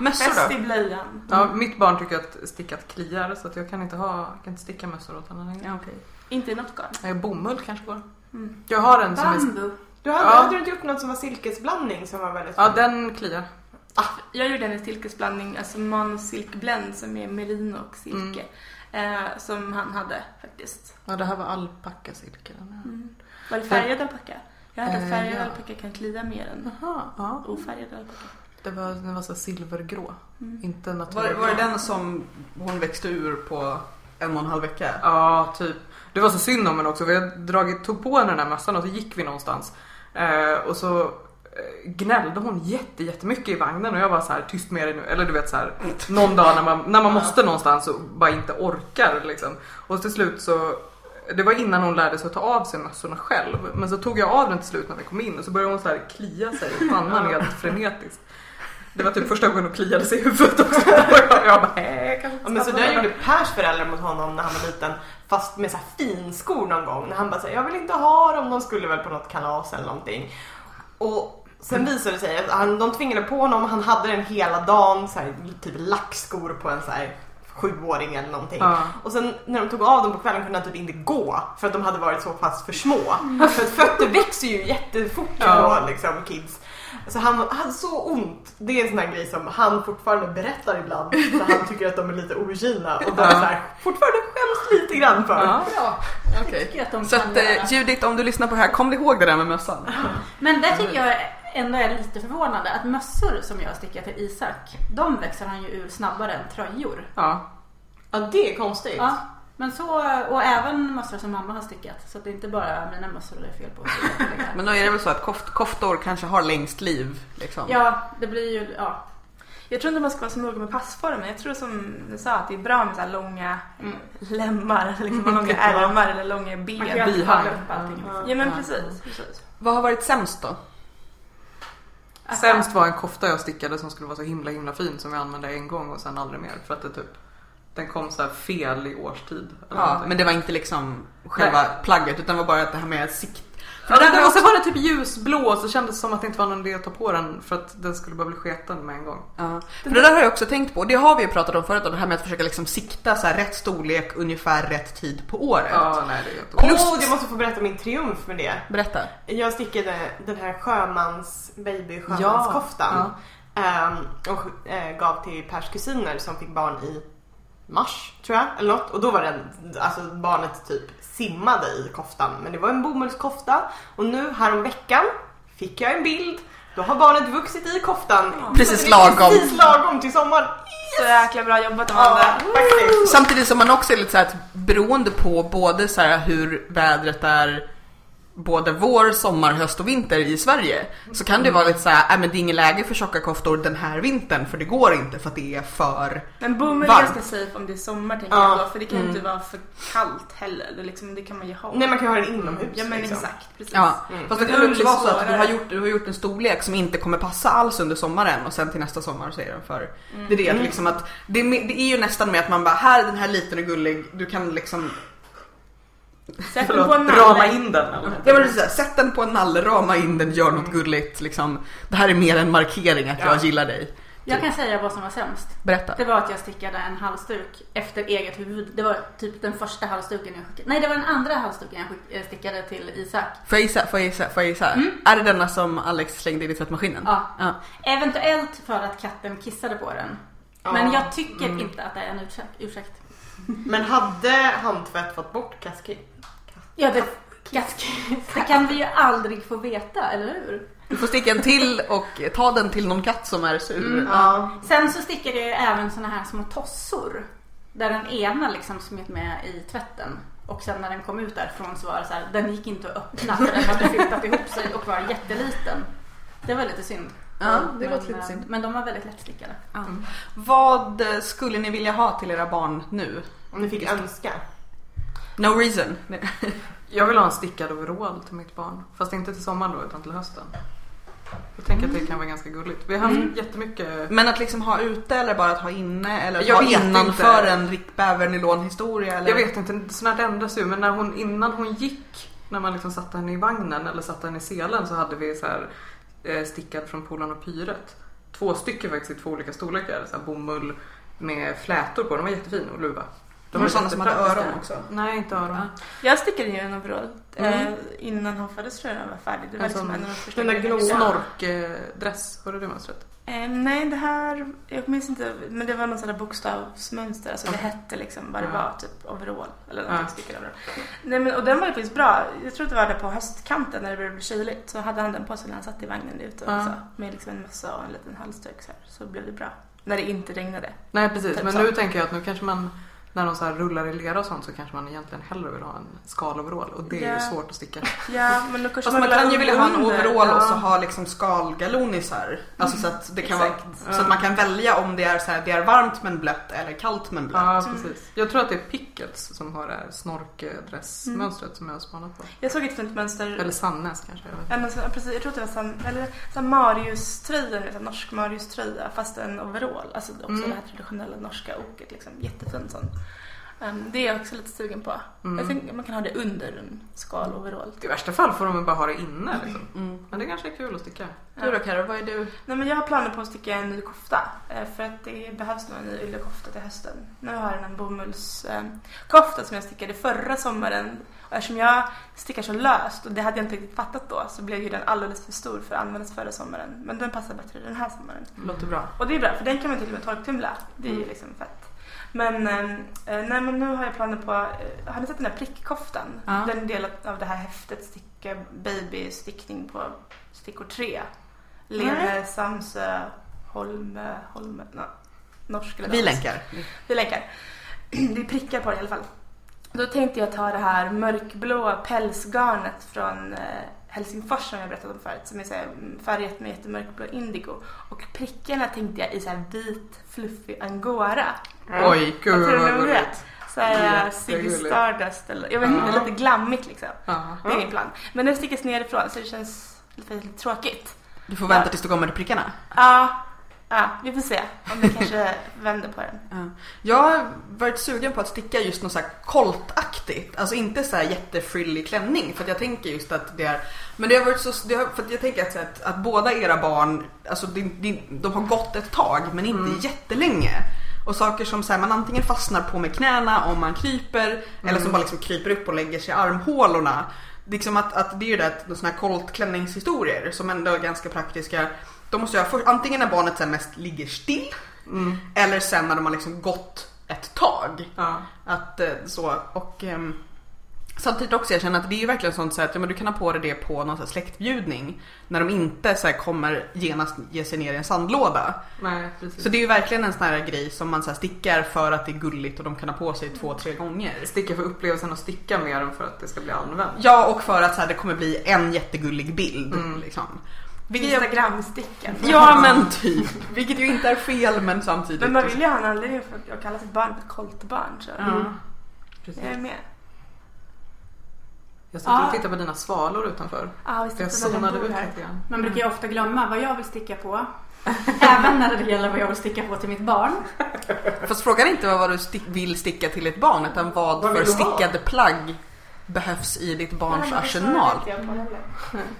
Speaker 1: Mössor
Speaker 4: fäst
Speaker 1: då?
Speaker 4: i blöjan.
Speaker 5: Ja, mitt barn tycker att stickat kliar så att jag kan inte, ha, jag kan inte sticka mössor åt honom längre.
Speaker 1: Ja, okej.
Speaker 4: Inte i något garn.
Speaker 5: Nej, bomull kanske går.
Speaker 4: Mm.
Speaker 5: Jag har en som är...
Speaker 3: Bambu.
Speaker 2: Du hade,
Speaker 5: Ja.
Speaker 2: hade du inte gjort något som var silkesblandning som var väldigt
Speaker 5: Ja, den kliar.
Speaker 4: Jag gjorde en silkesblandning, alltså monosilkblend som är merino och silke. Eh, som han hade faktiskt. Mm.
Speaker 5: Ja, det här var alpackasilke.
Speaker 4: Var det färgad alpacka? Jag hade
Speaker 5: Eh,
Speaker 4: att färgad
Speaker 5: ja.
Speaker 4: alpacka kan klida mer än
Speaker 5: Jaha, ja.
Speaker 4: ofärgad alpacka.
Speaker 5: Det var, den var så här silvergrå.
Speaker 4: Mm.
Speaker 5: Inte
Speaker 1: Var,
Speaker 5: naturgrå.
Speaker 1: var det den som hon växte ur på en och en halv vecka?
Speaker 5: Ja, typ. Det var så synd om henne också. Vi hade dragit, tog på henne den här mössan och så gick vi någonstans. Eh, och så eh, gnällde hon jätte, jättemycket i vagnen och jag var så här tyst med dig nu. Eller du vet så här någon dag när man, när man måste någonstans och bara inte orkar liksom. Och till slut så det var innan hon lärde sig att ta av sig mössorna själv. Men så tog jag av den till slut när vi kom in och så började hon så här klia sig i pannan helt frenetiskt. Det var typ första gången hon kliade sig i huvudet också. Och jag, jag bara, "Eh, kanske inte
Speaker 2: Ja, men så
Speaker 5: ska
Speaker 2: där
Speaker 5: göra."
Speaker 2: gjorde Pers föräldrar mot honom när han var liten fast med så här finskor någon gång när han bara säger jag vill inte ha dem, de skulle väl på något kalas eller någonting. Och sen visade det sig att han, de tvingade på honom, han hade den hela dagen, så här, typ lackskor på en så här sjuåring eller någonting.
Speaker 5: Ja.
Speaker 2: Och sen när de tog av dem på kvällen kunde han typ inte gå för att de hade varit så pass för små. För att fötter växer ju jättefort
Speaker 5: Mm. Ja.
Speaker 2: då liksom kids. Så han han hade så ont. Det är en sån här grej som han fortfarande berättar ibland när han tycker att de är lite ogina och de
Speaker 5: Ja.
Speaker 2: så här, fortfarande skäms lite grann för.
Speaker 5: Ja.
Speaker 1: Ja, okej.
Speaker 3: tycker att de
Speaker 1: Så
Speaker 3: kan
Speaker 1: att,
Speaker 3: göra.
Speaker 1: eh, Judith, om du lyssnar på det här, kom dig ihåg det där med mössan.
Speaker 3: Men där tycker jag ändå är lite förvånande att mössor som jag stickar till Isak, de växer han ju ur snabbare än tröjor.
Speaker 5: Ja.
Speaker 2: Ja, det är konstigt.
Speaker 3: Ja. Men så, och även mössor som mamma har stickat. Så att det är inte bara mina mössor det är fel på.
Speaker 1: Men då är det väl så att koft, koftor kanske har längst liv. Liksom.
Speaker 3: Ja, det blir ju, ja.
Speaker 4: Jag tror inte man ska vara så noga med passformen. Jag tror som du sa att det är bra med så här långa eh,
Speaker 3: Mm.
Speaker 4: lemmar, eller liksom långa ärmar eller långa
Speaker 3: Man
Speaker 4: ben.
Speaker 3: kan ju alltid
Speaker 1: bihang.
Speaker 3: kavla upp allting. också.
Speaker 4: Ja men
Speaker 1: Ja.
Speaker 4: precis. precis.
Speaker 1: Vad har varit sämst då?
Speaker 3: Att-
Speaker 5: Sämst var en kofta jag stickade som skulle vara så himla himla fin som jag använde en gång och sen aldrig mer för att det typ den kom så här fel i årstid. eller
Speaker 1: Ja,
Speaker 5: någonting.
Speaker 1: men det var inte liksom själva plagget utan det var bara att det här med sikt.
Speaker 5: Ja,
Speaker 1: För det
Speaker 5: den,
Speaker 1: där
Speaker 5: och så
Speaker 1: också...
Speaker 5: var den typ ljusblå och så kändes det som att det inte var någon idé att ta på den för att den skulle bara bli sketen med en gång.
Speaker 1: Ja. För det där har jag också tänkt på och det har vi ju pratat om förut om det här med att försöka liksom sikta så här rätt storlek ungefär rätt tid på året.
Speaker 5: Ja, nej det är jättebra.
Speaker 1: Och- Plus-
Speaker 2: Åh, jag måste få berätta min triumf med det.
Speaker 1: Berätta.
Speaker 2: Jag stickade den här sjömans, baby
Speaker 5: Ja,
Speaker 2: sjömanskoftan. ehm, och eh, gav till Pers kusiner som fick barn i mars tror jag eller något. Och då var den, alltså barnet typ simmade i koftan. Men det var en bomullskofta och nu häromveckan fick jag en bild. Då har barnet vuxit i koftan.
Speaker 1: Precis
Speaker 2: Så det är
Speaker 1: lagom.
Speaker 2: Precis lagom till sommaren.
Speaker 4: Så jäkla bra jobbat Amanda.
Speaker 2: Ja, faktiskt.
Speaker 1: Samtidigt som man också är lite så här att beroende på både så här hur vädret är både vår, sommar, höst och vinter i Sverige så kan det vara lite så här, nej men det är inget läge för tjocka koftor den här vintern för det går inte för att det är för
Speaker 4: Men bomull är
Speaker 1: Varmt.
Speaker 4: ganska safe om det är sommar tänker
Speaker 2: Ja.
Speaker 4: jag då, för det kan ju inte vara för kallt heller. Det, liksom, det kan man ju ha.
Speaker 2: Nej man kan ju ha den inomhus.
Speaker 4: ja men
Speaker 2: liksom.
Speaker 4: exakt, precis.
Speaker 1: Ja, Mm. fast det
Speaker 4: Men
Speaker 1: kan
Speaker 4: ull
Speaker 1: ju också
Speaker 4: är
Speaker 1: vara så att du
Speaker 4: svårare.
Speaker 1: har, gjort, du har gjort en storlek som inte kommer passa alls under sommaren och sen till nästa sommar så är den för... Det är det att liksom att det, är me- det är ju nästan med att man bara här är den här liten och gullig, du kan liksom...
Speaker 4: Sätt den
Speaker 5: Förlåt,
Speaker 4: på en
Speaker 5: rama
Speaker 4: nalle.
Speaker 5: in den eller?
Speaker 1: Ja, men precis, så här, sätt den på en nalle, rama in den, gör något gulligt liksom. Det här är mer en markering att jag gillar dig.
Speaker 3: Jag kan säga vad som var sämst.
Speaker 1: Berätta.
Speaker 3: Det var att jag stickade en halsduk efter eget huvud. Det var typ den första halsduken jag skickade. Nej, det var den andra halsduken jag skick- eh, stickade till Isak.
Speaker 1: Får jag gissa? Får jag gissa? Får jag gissa? Är det denna som Alex slängde in i tvättmaskinen?
Speaker 3: Ja. Eventuellt för att katten kissade på den. Men jag tycker inte att det är en ursäkt. ursäkt.
Speaker 2: Men hade handtvätt fått bort kaski?
Speaker 3: Ja, det, det kan vi ju aldrig få veta, eller hur?
Speaker 1: Du får sticka en till och ta den till någon katt som är sur.
Speaker 2: Mm, Ja.
Speaker 3: Sen så stickade jag ju även såna här små tossor. Där den ena liksom smet med i tvätten. Och sen när den kom ut därifrån så var det så här, den gick inte att öppna för den hade flyttat ihop sig och var jätteliten. Det var lite synd.
Speaker 1: Ja, det
Speaker 3: men,
Speaker 1: låter lite
Speaker 3: eh,
Speaker 1: synd.
Speaker 3: Men de var väldigt lättstickade.
Speaker 1: Vad eh, skulle ni vilja ha till era barn nu?
Speaker 2: Om ni fick önska.
Speaker 1: No reason.
Speaker 5: Jag vill ha en stickad overall till mitt barn. Fast inte till sommaren då utan till hösten. Jag tänker att det kan vara ganska gulligt. Vi har haft
Speaker 1: Mm.
Speaker 5: jättemycket
Speaker 1: Men att liksom ha ute eller bara att ha inne eller att
Speaker 5: Jag
Speaker 1: ha
Speaker 5: vet
Speaker 1: innanför
Speaker 5: inte.
Speaker 1: en Rick Bäver-nylonhistoria eller?
Speaker 5: Jag vet inte, sånt här ändras ju. Men när hon, innan hon gick, när man liksom satte henne i vagnen eller satte henne i selen så hade vi så här eh, stickat från Polan och Pyret. Två stycken faktiskt i två olika storlekar. Så här bomull med flätor på. De var jättefina och luva.
Speaker 1: De var sådana som hade
Speaker 5: jättepraktiska.
Speaker 1: öron också.
Speaker 5: Nej, inte öron.
Speaker 4: Jag stickade ju en overall
Speaker 1: Mm.
Speaker 4: eh, innan han föddes tror jag den var färdig. Det var
Speaker 5: Alltså,
Speaker 4: liksom en av de första
Speaker 2: den där
Speaker 4: grejerna.
Speaker 2: gråa.
Speaker 5: Snorkdress, hörde du det mönstret?
Speaker 4: Eh, nej, det här, jag minns inte, men det var någon sån där bokstavsmönster, alltså det hette liksom vad det
Speaker 5: Ja.
Speaker 4: var, typ overall eller någonting
Speaker 5: Ja.
Speaker 4: stickad overall. Nej men och den var ju faktiskt bra, jag tror att det var där på höstkanten när det började bli kyligt så hade han den på sig när han satt i vagnen ute
Speaker 5: Ja.
Speaker 4: och så, med liksom en mössa och en liten halsduk så, här, så blev det bra. När det inte regnade.
Speaker 5: Nej precis,
Speaker 4: Typ
Speaker 5: men
Speaker 4: så.
Speaker 5: nu tänker jag att nu kanske man när de så här rullar i lera och sånt så kanske man egentligen hellre vill ha en skaloverall och det är
Speaker 4: Ja.
Speaker 5: ju svårt att sticka.
Speaker 4: Ja, men då kanske
Speaker 1: Fast man kan ju vilja ha en
Speaker 4: under.
Speaker 1: overall
Speaker 4: Ja.
Speaker 1: och så ha liksom skalgalonisar. Alltså så att, det kan vara,
Speaker 4: Exakt.
Speaker 1: så att man kan välja om det är, så här, det är varmt men blött eller kallt men blött.
Speaker 5: Ja
Speaker 4: Mm.
Speaker 5: precis. Jag tror att det är Pickles som har det här snorkdressmönstret som jag har spanat på.
Speaker 4: Jag såg ett fint mönster
Speaker 5: Eller Sannes kanske. Jag vet. inte.
Speaker 4: En, sån- precis, jag tror att det var sam, eller, så här Marius-tröja, en sån norsk Marius-tröja fast en overall. Alltså också
Speaker 5: Mm.
Speaker 4: det här traditionella norska oket. Liksom. Jättefin sån. Ehm, det är jag också lite sugen på.
Speaker 5: Mm.
Speaker 4: Jag tänker att man kan ha det under en skal-overall.
Speaker 5: I värsta fall får de väl bara ha det inne liksom. Men det kanske är kul att sticka.
Speaker 4: Du då,
Speaker 1: Carro, vad är du?
Speaker 4: Nej, men jag har planer på att sticka en ny kofta eh, för att det behövs nog en ny yllekofta till hösten. Nu har jag en bomullskofta eh, som jag stickade förra sommaren och eftersom jag stickar så löst och det hade jag inte riktigt fattat då så blev ju den alldeles för stor för att användas förra sommaren. Men den passar bättre den här sommaren.
Speaker 1: Låter bra.
Speaker 4: Och det är bra för den kan man till och med torktumla. Det är ju liksom fett. Men, eh, eh, nej, men nu har jag planer på, eh, har ni sett den där prickkoftan?
Speaker 1: Ja.
Speaker 4: Den är en del av det här häftet sticka baby stickning på stickor 3. Lene, Samsö, Holme, Holme, no, norsk eller
Speaker 1: Vi
Speaker 4: dansk.
Speaker 1: länkar.
Speaker 4: Vi länkar. Det är prickar på det i alla fall. Då tänkte jag ta det här mörkblåa pälsgarnet från eh, Helsingfors som jag berättade om förut som är så här färgat med jättemörkblå indigo. Och prickarna tänkte jag i så här vit fluffig angora.
Speaker 5: Oj, gud
Speaker 4: Vad tror
Speaker 5: vad
Speaker 4: du om det?
Speaker 5: gulligt.
Speaker 4: Så här eh, Ziggy
Speaker 5: Jättegulligt.
Speaker 4: Stardust eller jag vet inte,
Speaker 5: Ja.
Speaker 4: lite glammigt liksom.
Speaker 5: Ja.
Speaker 4: Det är min plan. Men den stickas nerifrån så det känns lite, lite tråkigt.
Speaker 1: Du får vänta tills du kommer till prickarna.
Speaker 4: Ja, ja, vi får se om vi kanske vänder på den.
Speaker 1: Ja. Jag har varit sugen på att sticka just något så här koltaktigt. Alltså inte så här jättefrillig klänning för att jag tänker just att det är Men det har varit så, det har, för att jag tänker att, så här att, att båda era barn, alltså det, det, de har gått ett tag men inte jättelänge. Och saker som så här, man antingen fastnar på med knäna om man kryper eller som bara liksom kryper upp och lägger sig i armhålorna. Liksom att, att det är ju det att sådana här koltklänningshistorier som ändå är ganska praktiska. De måste jag först, antingen när barnet sen mest ligger still eller sen när de har liksom gått ett tag.
Speaker 5: Ja.
Speaker 1: Att, eh, så, och, ehm, samtidigt också jag känner att det är ju verkligen sånt så här att ja, men du kan ha på dig det på någon så här släktbjudning. När de inte så här kommer genast ge sig ner i en sandlåda.
Speaker 5: Nej, precis.
Speaker 1: Så det är ju verkligen en sån här grej som man så här stickar för att det är gulligt och de kan ha på sig två, tre gånger.
Speaker 5: Sticka för upplevelsen att sticka mer än för att det ska bli använt.
Speaker 1: Ja och för att så här, det kommer bli en jättegullig bild.
Speaker 5: Mm.
Speaker 1: Liksom. Vilket jag,
Speaker 4: Instagramstickan.
Speaker 1: ja men typ. Vilket ju inte är fel men samtidigt.
Speaker 4: Men man vill ju ha en anledning för att kalla sitt barn för koltbarn. Så.
Speaker 1: Mm.
Speaker 5: Precis.
Speaker 4: Jag är med.
Speaker 5: Jag satt
Speaker 3: Ja.
Speaker 5: och tittade på dina svalor utanför.
Speaker 4: Ja, Ah, vi
Speaker 5: Jag
Speaker 4: sitter mellan
Speaker 5: zonade
Speaker 4: bord
Speaker 5: ut
Speaker 4: här.
Speaker 5: lite grann.
Speaker 3: Man brukar ju
Speaker 1: Mm.
Speaker 3: ofta glömma vad jag vill sticka på. Även när det gäller vad jag vill sticka på till mitt barn.
Speaker 1: Fast frågan är inte vad du stick, vill sticka till ett barn utan vad,
Speaker 2: Vad
Speaker 1: för
Speaker 2: vill du ha?
Speaker 1: stickade plagg behövs i ditt barns
Speaker 4: Nej, men alltså, det
Speaker 1: arsenal.
Speaker 4: svarar inte jag på heller.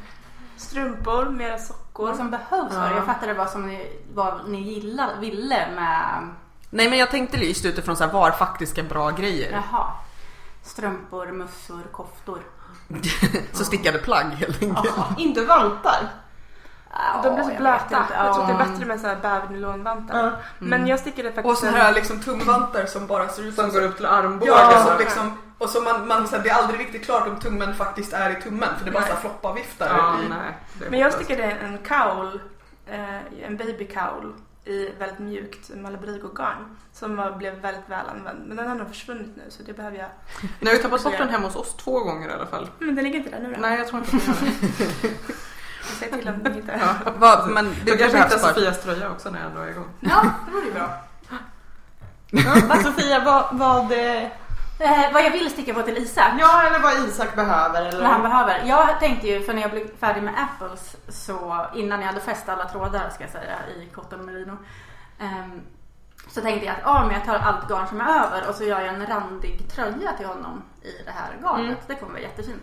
Speaker 4: Strumpor, mera sockor.
Speaker 3: Vad som behövs var det. Jag fattade vad som ni, vad ni gillar, ville med...
Speaker 1: Nej men jag tänkte just utifrån så här, var faktiska bra grejer.
Speaker 3: Jaha. Strumpor, mössor, koftor.
Speaker 1: så stickade plagg helt enkelt.
Speaker 2: Inte vantar.
Speaker 4: De blir
Speaker 3: Ja,
Speaker 4: så
Speaker 3: jag vet
Speaker 4: blöta.
Speaker 3: inte.
Speaker 4: Jag tror att det
Speaker 3: Ja.
Speaker 4: är bättre med så här bävernylonvantar. Men jag stickade faktiskt
Speaker 1: Och så
Speaker 4: en-
Speaker 1: här liksom tumvantar som bara ser ut
Speaker 5: Som går upp till armbågen.
Speaker 1: Ja,
Speaker 5: så
Speaker 1: som
Speaker 5: här.
Speaker 1: liksom, och så man, man, så här, det är aldrig riktigt klart om tummen faktiskt är i tummen för det är bara så här floppaviftar.
Speaker 5: Ja,
Speaker 1: i-
Speaker 5: nej. det är
Speaker 4: Men jag
Speaker 5: hopplöst.
Speaker 4: stickade en cowl, eh, en baby cowl i väldigt mjukt malabrigo-garn som var, blev väldigt väl använd. Men den har nog försvunnit nu så det behöver jag.
Speaker 5: Nej, vi har tappat bort den hemma hos oss två gånger i alla fall.
Speaker 4: Men den ligger inte där nu då.
Speaker 5: Nej, jag tror inte att den gör det.
Speaker 4: Jag säger till om den hittar.
Speaker 1: Vad- men
Speaker 5: Då
Speaker 1: det
Speaker 5: kanske
Speaker 1: behövs
Speaker 5: hittar
Speaker 1: bara-
Speaker 5: Sofias tröja också när jag ändå är igång.
Speaker 3: Ja, det vore ju bra.
Speaker 2: Vad Sofia, vad, vad, eh,
Speaker 3: Eh, vad jag vill sticka på till Isak.
Speaker 2: ja, eller vad Isak behöver. Eller?
Speaker 3: Vad han behöver. Jag tänkte ju, för när jag blev färdig med Apples, så innan jag hade fäst alla trådar ska jag säga i cotton merino. ehm, så tänkte jag att ah, men jag tar allt garn som är över och så gör jag en randig tröja till honom i det här garnet.
Speaker 2: Mm.
Speaker 3: Det kommer vara jättefint.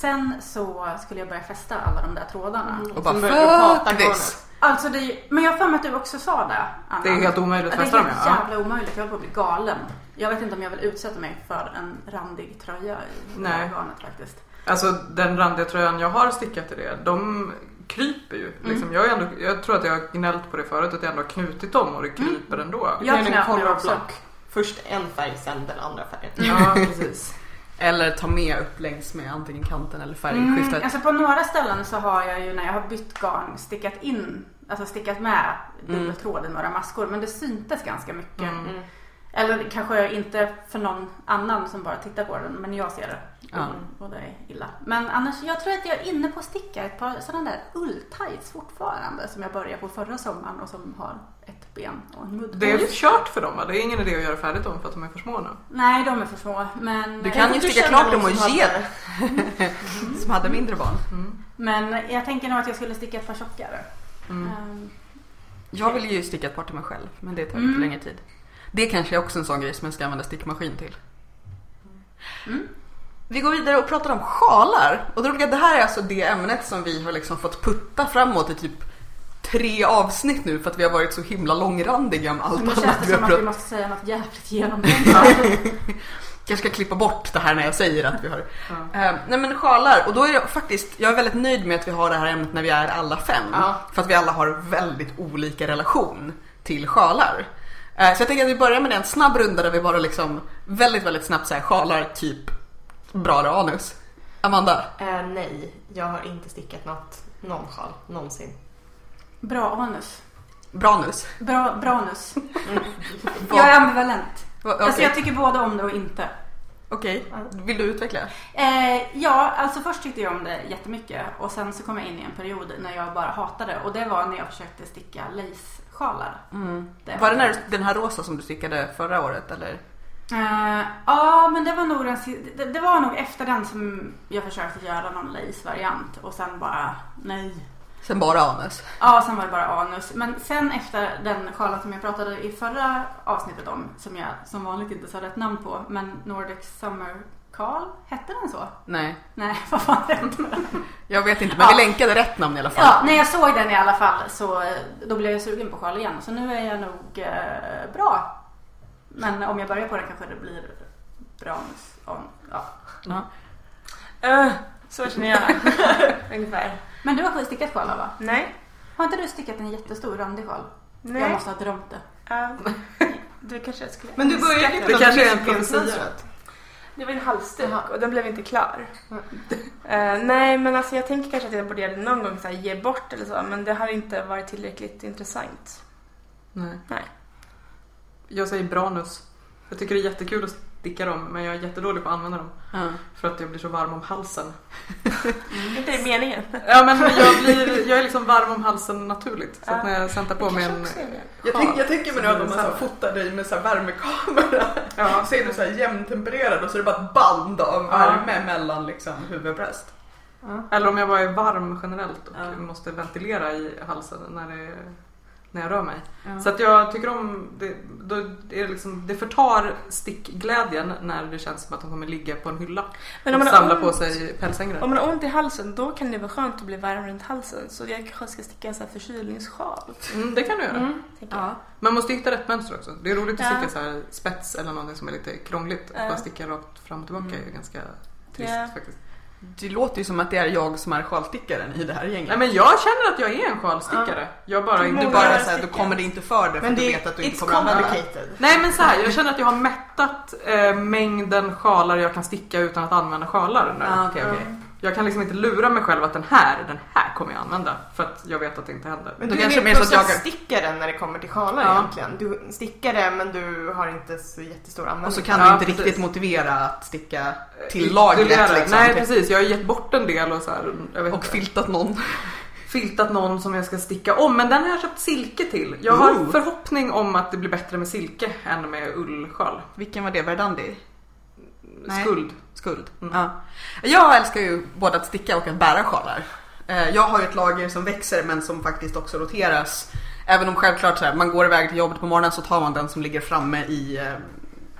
Speaker 3: Sen så skulle jag börja fästa alla de där trådarna.
Speaker 1: Och
Speaker 2: Som börjar prata
Speaker 1: bara fuck this.
Speaker 3: Alltså det är, ju- men jag har för mig att du också sa det. Anna.
Speaker 5: Det är helt omöjligt att
Speaker 3: Ja,
Speaker 5: fästa dem
Speaker 3: Det är helt
Speaker 5: ja.
Speaker 3: jävla omöjligt. Jag håller på att bli galen. Jag vet inte om jag vill utsätta mig för en randig tröja i det här
Speaker 5: Nej.
Speaker 3: garnet faktiskt.
Speaker 5: Alltså den randiga tröjan jag har stickat i det, de kryper ju.
Speaker 4: Mm.
Speaker 5: Liksom, jag, har ändå, jag tror att jag har gnällt på det förut, att jag ändå har knutit dem och det
Speaker 4: Mm.
Speaker 5: kryper ändå.
Speaker 3: Jag
Speaker 2: Jag
Speaker 3: knöt
Speaker 2: knöt
Speaker 3: nu
Speaker 2: korv och
Speaker 3: också.
Speaker 2: block. Först en färg, sen den andra färgen.
Speaker 1: Mm.
Speaker 5: Ja, precis.
Speaker 1: Eller ta med upp längs med antingen kanten eller färgskiftet.
Speaker 3: Mm, alltså på några ställen så har jag ju när jag har bytt garn stickat in, alltså stickat med dubbeltråd i några maskor. Men det syntes ganska mycket.
Speaker 5: Mm.
Speaker 3: Eller kanske inte för någon annan som bara tittar på den, men jag ser det.
Speaker 1: Ja.
Speaker 3: Mm, Och det är illa. Men annars, jag tror att jag är inne på att sticka ett par sådana där ulltights fortfarande. Som jag började på förra sommaren och som har ett ben och en mudd.
Speaker 5: Det är kört för dem va? Det är ingen idé att göra färdigt dem för att de är för små nu.
Speaker 3: Nej, de är för små. Men...
Speaker 1: Du kan ju
Speaker 2: Du
Speaker 1: sticka
Speaker 2: känner
Speaker 1: klart dem och
Speaker 2: någon som
Speaker 1: ge
Speaker 2: hade-
Speaker 1: som hade mindre barn.
Speaker 5: Mm.
Speaker 3: Men jag tänker nog att jag skulle sticka ett par tjockare.
Speaker 5: Mm.
Speaker 1: Mm.
Speaker 3: Ehm,
Speaker 1: Jag vill ju sticka ett par till mig själv men det tar lite
Speaker 3: Mm.
Speaker 1: längre tid. Det kanske är också en sån grej som jag ska använda stickmaskin till.
Speaker 3: Mm.
Speaker 1: Vi går vidare och pratar om sjalar. Och det, roliga, det här är alltså det ämnet som vi har liksom fått putta framåt i typ tre avsnitt nu för att vi har varit så himla långrandiga om allt
Speaker 3: Nu
Speaker 1: annat
Speaker 3: känns
Speaker 1: vi
Speaker 3: det
Speaker 1: har
Speaker 3: som att vi
Speaker 1: pratat
Speaker 3: måste säga något jävligt genomtänkt.
Speaker 1: kanske ska klippa bort det här när jag säger att vi har
Speaker 5: Ja.
Speaker 1: Eh, nej men sjalar, och då är det faktiskt, jag är väldigt nöjd med att vi har det här ämnet när vi är alla fem.
Speaker 2: Ja.
Speaker 1: För att vi alla har väldigt olika relation till sjalar. Eh, så jag tänker att vi börjar med en snabb runda där vi bara liksom väldigt, väldigt snabbt säger sjalar, typ bra eller anus. Amanda,
Speaker 2: Eh, nej, jag har inte stickat något, någon sjal någonsin.
Speaker 3: Bra anus.
Speaker 1: bra anus.
Speaker 3: Bra, bra anus.
Speaker 1: Vad-
Speaker 3: Jag är ambivalent.
Speaker 1: vad-
Speaker 3: Alltså
Speaker 1: okej.
Speaker 3: jag tycker både om det och inte.
Speaker 1: Okej, vill du utveckla?
Speaker 3: Eh, ja, alltså först tyckte jag om det jättemycket och sen så kom jag in i en period när jag bara hatade det och det var när jag försökte sticka lace-sjalar.
Speaker 1: Mm. Var det när, du- den här rosa som du stickade förra året eller?
Speaker 3: Eh, ja, men det var, nog den, si- det, det var nog efter den som jag försökte göra någon lace-variant och sen bara nej.
Speaker 1: Sen bara anus.
Speaker 3: Ja, sen var det bara anus. Men sen efter den sjalen som jag pratade i förra avsnittet om, som jag som vanligt inte sa rätt namn på, men Nordic Summer Call, hette den så?
Speaker 1: Nej,
Speaker 3: Nej, vad fan hette den?
Speaker 1: jag vet inte men vi
Speaker 3: Ja.
Speaker 1: länkade rätt namn i alla fall.
Speaker 3: Ja, när jag såg den i alla fall så eh, då blev jag sugen på sjal igen. Så nu är jag nog eh, bra. Men om jag börjar på den kanske det blir bra. Om, ja.
Speaker 1: Ja.
Speaker 4: Öh, så känner jag. Ungefär.
Speaker 3: Men du har själv stickat sjal va?
Speaker 4: Nej.
Speaker 3: Har inte du stickat en jättestor randig sjal?
Speaker 4: Nej.
Speaker 3: Jag måste ha drömt det.
Speaker 4: Ja. du kanske skulle...
Speaker 2: Men du började ju
Speaker 5: Det kanske är en profetia.
Speaker 2: syrat.
Speaker 4: Det var en halsduk
Speaker 2: Jaha.
Speaker 4: och den blev inte klar.
Speaker 2: Mm.
Speaker 4: Eh, nej men alltså jag tänker kanske att jag borde göra det någon gång så här, ge bort eller så men det har inte varit tillräckligt intressant.
Speaker 5: Nej.
Speaker 4: Nej.
Speaker 5: Jag säger branus. Jag tycker det är jättekul att sticka dem men jag är jättedålig på att använda dem
Speaker 1: Ja.
Speaker 5: för att jag blir så varm om halsen.
Speaker 4: Inte det meningen.
Speaker 5: Ja men Mm. jag, blir, jag är liksom varm om halsen naturligt så att
Speaker 4: Ja.
Speaker 5: när jag sätter på mig en...
Speaker 2: Jag,
Speaker 5: Ja,
Speaker 2: tänk, jag tänker mig nu att om man så här
Speaker 5: samma.
Speaker 2: fotar dig med så här värmekamera
Speaker 5: Ja.
Speaker 2: så är du så här jämntempererad och så är det bara ett band av värme mellan liksom huvud och bröst.
Speaker 5: Eller om jag bara är varm generellt och
Speaker 1: Ja.
Speaker 5: måste ventilera i halsen när, det, när jag rör mig.
Speaker 1: Ja.
Speaker 5: Så att jag tycker om det, då är det, liksom, det förtar stickglädjen när det känns som att de kommer ligga på en hylla
Speaker 4: Men om
Speaker 5: och
Speaker 4: man,
Speaker 5: samla
Speaker 4: har
Speaker 5: på
Speaker 4: ont,
Speaker 5: sig pälsängrar.
Speaker 4: om man har ont i halsen då kan det vara skönt att bli varm runt halsen så jag kanske ska sticka en sån här förkylningssjal.
Speaker 5: Mm, det kan du göra.
Speaker 4: tänker jag.
Speaker 1: Ja.
Speaker 5: Man måste hitta rätt mönster också. Det är roligt att
Speaker 4: Ja.
Speaker 5: sticka så här spets eller någonting som är lite krångligt. Att
Speaker 4: Ja.
Speaker 5: bara sticka rakt fram och tillbaka
Speaker 1: Mm.
Speaker 5: är ju ganska trist
Speaker 4: Ja.
Speaker 5: faktiskt.
Speaker 1: Det låter ju som att det är jag som är sjalstickaren i det här gänget.
Speaker 5: Nej men jag känner att jag är en sjalstickare. Jag bara
Speaker 1: du
Speaker 5: inte
Speaker 4: många
Speaker 5: bara...
Speaker 1: bara såhär, då kommer det inte för dig för
Speaker 2: Men
Speaker 1: att du
Speaker 2: det
Speaker 1: vet att du
Speaker 2: är,
Speaker 1: inte
Speaker 2: it's
Speaker 1: kommer använda det.
Speaker 2: complicated.
Speaker 5: Nej men så här, jag känner att jag har mättat eh, mängden sjalar jag kan sticka utan att använda sjalar nu.
Speaker 2: Ah,
Speaker 1: Ja, okej, okej.
Speaker 5: Jag kan liksom inte lura mig själv att den här, den här kommer jag använda. För att jag vet att det inte händer.
Speaker 2: Men
Speaker 1: Då
Speaker 2: du
Speaker 1: kanske
Speaker 2: är
Speaker 1: mer så att jag-
Speaker 2: stickaren när det kommer till sjalar
Speaker 5: Ja.
Speaker 2: egentligen. Du stickar det men du har inte så jättestor användning.
Speaker 1: Och så kan du
Speaker 5: Ja,
Speaker 1: inte
Speaker 5: precis.
Speaker 1: riktigt motivera att sticka till
Speaker 2: Eh,
Speaker 5: Eh, Ytterligare.
Speaker 1: lagret liksom.
Speaker 5: Nej precis, jag har gett bort en del och så här, jag vet
Speaker 1: Och
Speaker 5: inte,
Speaker 1: filtat någon.
Speaker 5: filtat någon som jag ska sticka om. Men den har jag köpt silke till. Jag har
Speaker 1: Ooh.
Speaker 5: förhoppning om att det blir bättre med silke än med ullsjal.
Speaker 1: Vilken var det? Verdandi? Nej.
Speaker 5: Skuld.
Speaker 1: Skuld.
Speaker 5: Mm.
Speaker 1: Ja. Jag älskar ju både att sticka och att bära sjalar. Eh, Jag har ju ett lager som växer men som faktiskt också roteras. Även om självklart så här, man går iväg till jobbet på morgonen så tar man den som ligger framme i, eh,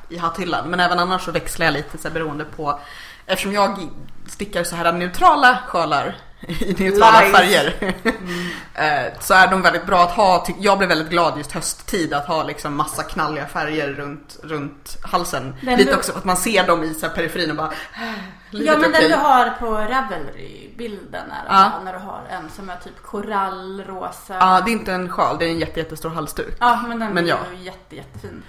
Speaker 1: i hatthyllan. Men även annars så växlar jag lite så här, beroende på Eftersom jag stickar så här neutrala sjalar i neutrala
Speaker 2: Lies.
Speaker 1: färger eh, så är de väldigt bra att ha. Ty- Jag blev väldigt glad just hösttid att ha liksom massa knalliga färger runt, runt halsen.
Speaker 3: Den
Speaker 1: lite
Speaker 3: du-
Speaker 1: också att man ser dem i så här periferin och bara
Speaker 3: Ja
Speaker 1: Livet
Speaker 3: men
Speaker 1: är
Speaker 3: den
Speaker 1: okej.
Speaker 3: du har på Ravelry-bilden är
Speaker 1: Ja.
Speaker 3: när du har en som är typ korallrosa.
Speaker 1: Ja, det är inte en sjal, det är en jätte, jättestor halsduk.
Speaker 3: Ja, men den
Speaker 1: Men ja.
Speaker 3: är ju jätte, jättefin.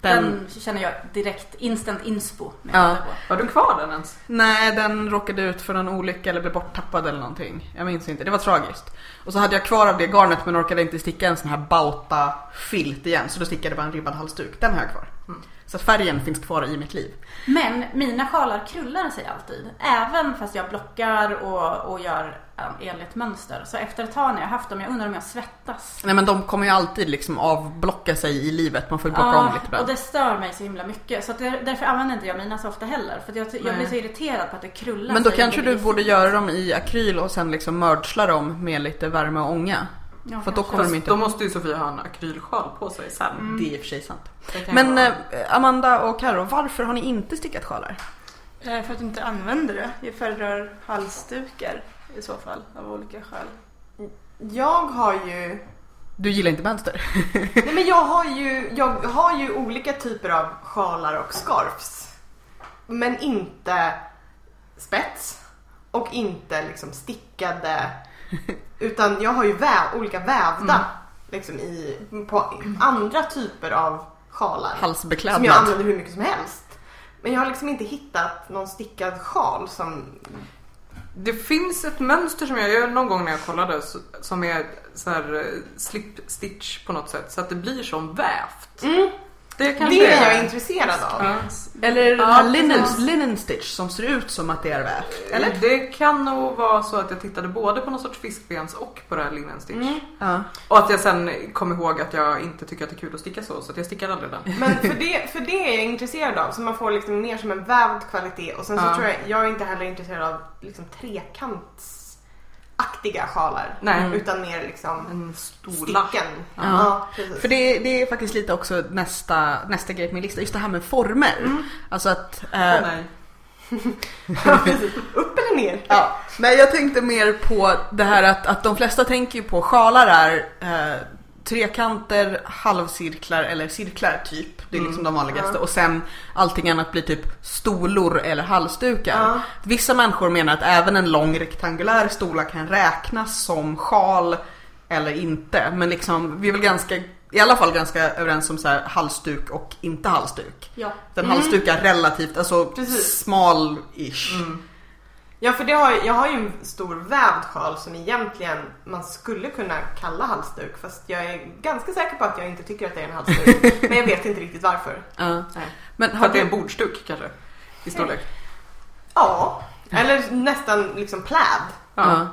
Speaker 3: Den...
Speaker 1: Den,
Speaker 3: känner jag direkt instant inspo med.
Speaker 1: Ja.
Speaker 3: att titta på.
Speaker 5: Har du kvar den ens?
Speaker 1: Nej, den råkade ut för en olycka eller blev borttappad eller någonting. Jag minns inte, det var tragiskt. Och så hade jag kvar av det garnet men orkade inte sticka en sån här bauta-filt igen. Så då stickade jag bara en ribbad halsduk. Den har jag kvar.
Speaker 5: Mm.
Speaker 1: Så att färgen finns kvar i mitt liv.
Speaker 3: Men mina sjalar krullar sig alltid. Även fast jag blockar och, och gör um, enligt mönster. Så efter ett tag när jag haft dem, jag undrar om jag svettas.
Speaker 1: Nej men de kommer ju alltid liksom avblocka sig i livet. Man får ju blocka om
Speaker 3: Ja,
Speaker 1: lite
Speaker 3: och
Speaker 1: ibland.
Speaker 3: det stör mig så himla mycket. Så att där- därför använder inte jag mina så ofta heller. För att jag, ty- jag
Speaker 1: Nej.
Speaker 3: blir så irriterad på att det krullar
Speaker 1: Men då
Speaker 3: sig
Speaker 1: kanske
Speaker 3: i-
Speaker 1: du borde göra dem i akryl och sen liksom mörsla dem med lite värme och ånga.
Speaker 3: Ja,
Speaker 1: för att då
Speaker 3: kanske.
Speaker 1: Kommer de
Speaker 5: Fast
Speaker 1: inte-
Speaker 5: då måste ju Sofia ha en akrylsjal på sig sen.
Speaker 1: Det är i och för sig sant.
Speaker 5: Det kan
Speaker 1: Men
Speaker 5: jag-
Speaker 1: eh, Amanda och Karo, varför har ni inte stickat sjalar?
Speaker 4: Eh, För att du inte använder det. Jag föredrar halsdukar i så fall av olika skäl.
Speaker 2: Jag har ju
Speaker 1: Du gillar inte mönster?
Speaker 2: Nej men jag har ju, jag har ju olika typer av sjalar och scarfs. Men inte spets och inte liksom stickade. Utan jag har ju väv, olika vävda
Speaker 1: Mm.
Speaker 2: liksom i, på andra typer av sjalar. Som jag
Speaker 1: Halsbeklädnad?
Speaker 2: använder hur mycket som helst. Men jag har liksom inte hittat någon stickad sjal som...
Speaker 5: Det finns ett mönster som jag gör någon gång när jag kollade så- som är så här eh, slip stitch på något sätt så att det blir som vävt. Det kanske
Speaker 2: Det är jag
Speaker 5: är.
Speaker 2: intresserad av.
Speaker 5: Ja.
Speaker 1: Eller är det den
Speaker 3: Ja,
Speaker 1: här linen,
Speaker 3: precis.
Speaker 1: linen stitch som ser ut som att det är väv?
Speaker 5: Eller? Det kan nog vara så att jag tittade både på någon sorts fiskbens och på det här linen stitch.
Speaker 2: Mm.
Speaker 1: Ja.
Speaker 5: Och att jag sen kom ihåg att jag inte tycker att det är kul att sticka så, så att jag stickar aldrig den.
Speaker 2: Men för det, för det är jag intresserad av så man får liksom mer som en vävd kvalitet och sen så
Speaker 5: Ja.
Speaker 2: tror jag, jag är inte heller intresserad av liksom trekantsaktiga sjalar.
Speaker 5: Nej,
Speaker 1: Mm.
Speaker 2: Utan mer liksom
Speaker 5: en stola.
Speaker 2: sticken.
Speaker 1: Ja.
Speaker 2: precis.
Speaker 1: För det, det är faktiskt lite också nästa, nästa grej på min lista, just det här med former. Alltså att...
Speaker 5: Åh,
Speaker 1: eh,
Speaker 5: nej.
Speaker 2: Ja, precis. Upp eller ner?
Speaker 1: Ja, men jag tänkte mer på det här att, att de flesta tänker ju på sjalar är eh, trekanter, halvcirklar eller cirklar typ. Det är liksom de vanligaste.
Speaker 2: Mm. Ja.
Speaker 1: Och sen allting annat blir typ stolor eller halsdukar.
Speaker 2: Ja.
Speaker 1: Vissa människor menar att även en lång rektangulär stola kan räknas som sjal eller inte. Men liksom, vi är väl ganska, i alla fall ganska överens om så här, halsduk och inte halsduk.
Speaker 3: Ja.
Speaker 1: Den
Speaker 2: Mm.
Speaker 1: halsduk är relativt, alltså
Speaker 2: Precis. Mm.
Speaker 1: smal-ish.
Speaker 2: Ja för det har, jag har ju en stor vävd sjal som egentligen man skulle kunna kalla halsduk fast jag är ganska säker på att jag inte tycker att det är en halsduk. men jag vet inte riktigt varför.
Speaker 1: Ja.
Speaker 5: Nej.
Speaker 1: Men
Speaker 5: För
Speaker 1: har
Speaker 5: att det är
Speaker 1: du...
Speaker 5: en bordsduk kanske. I storlek.
Speaker 2: Ja, eller nästan liksom pläd.
Speaker 5: Ja.
Speaker 1: Ja.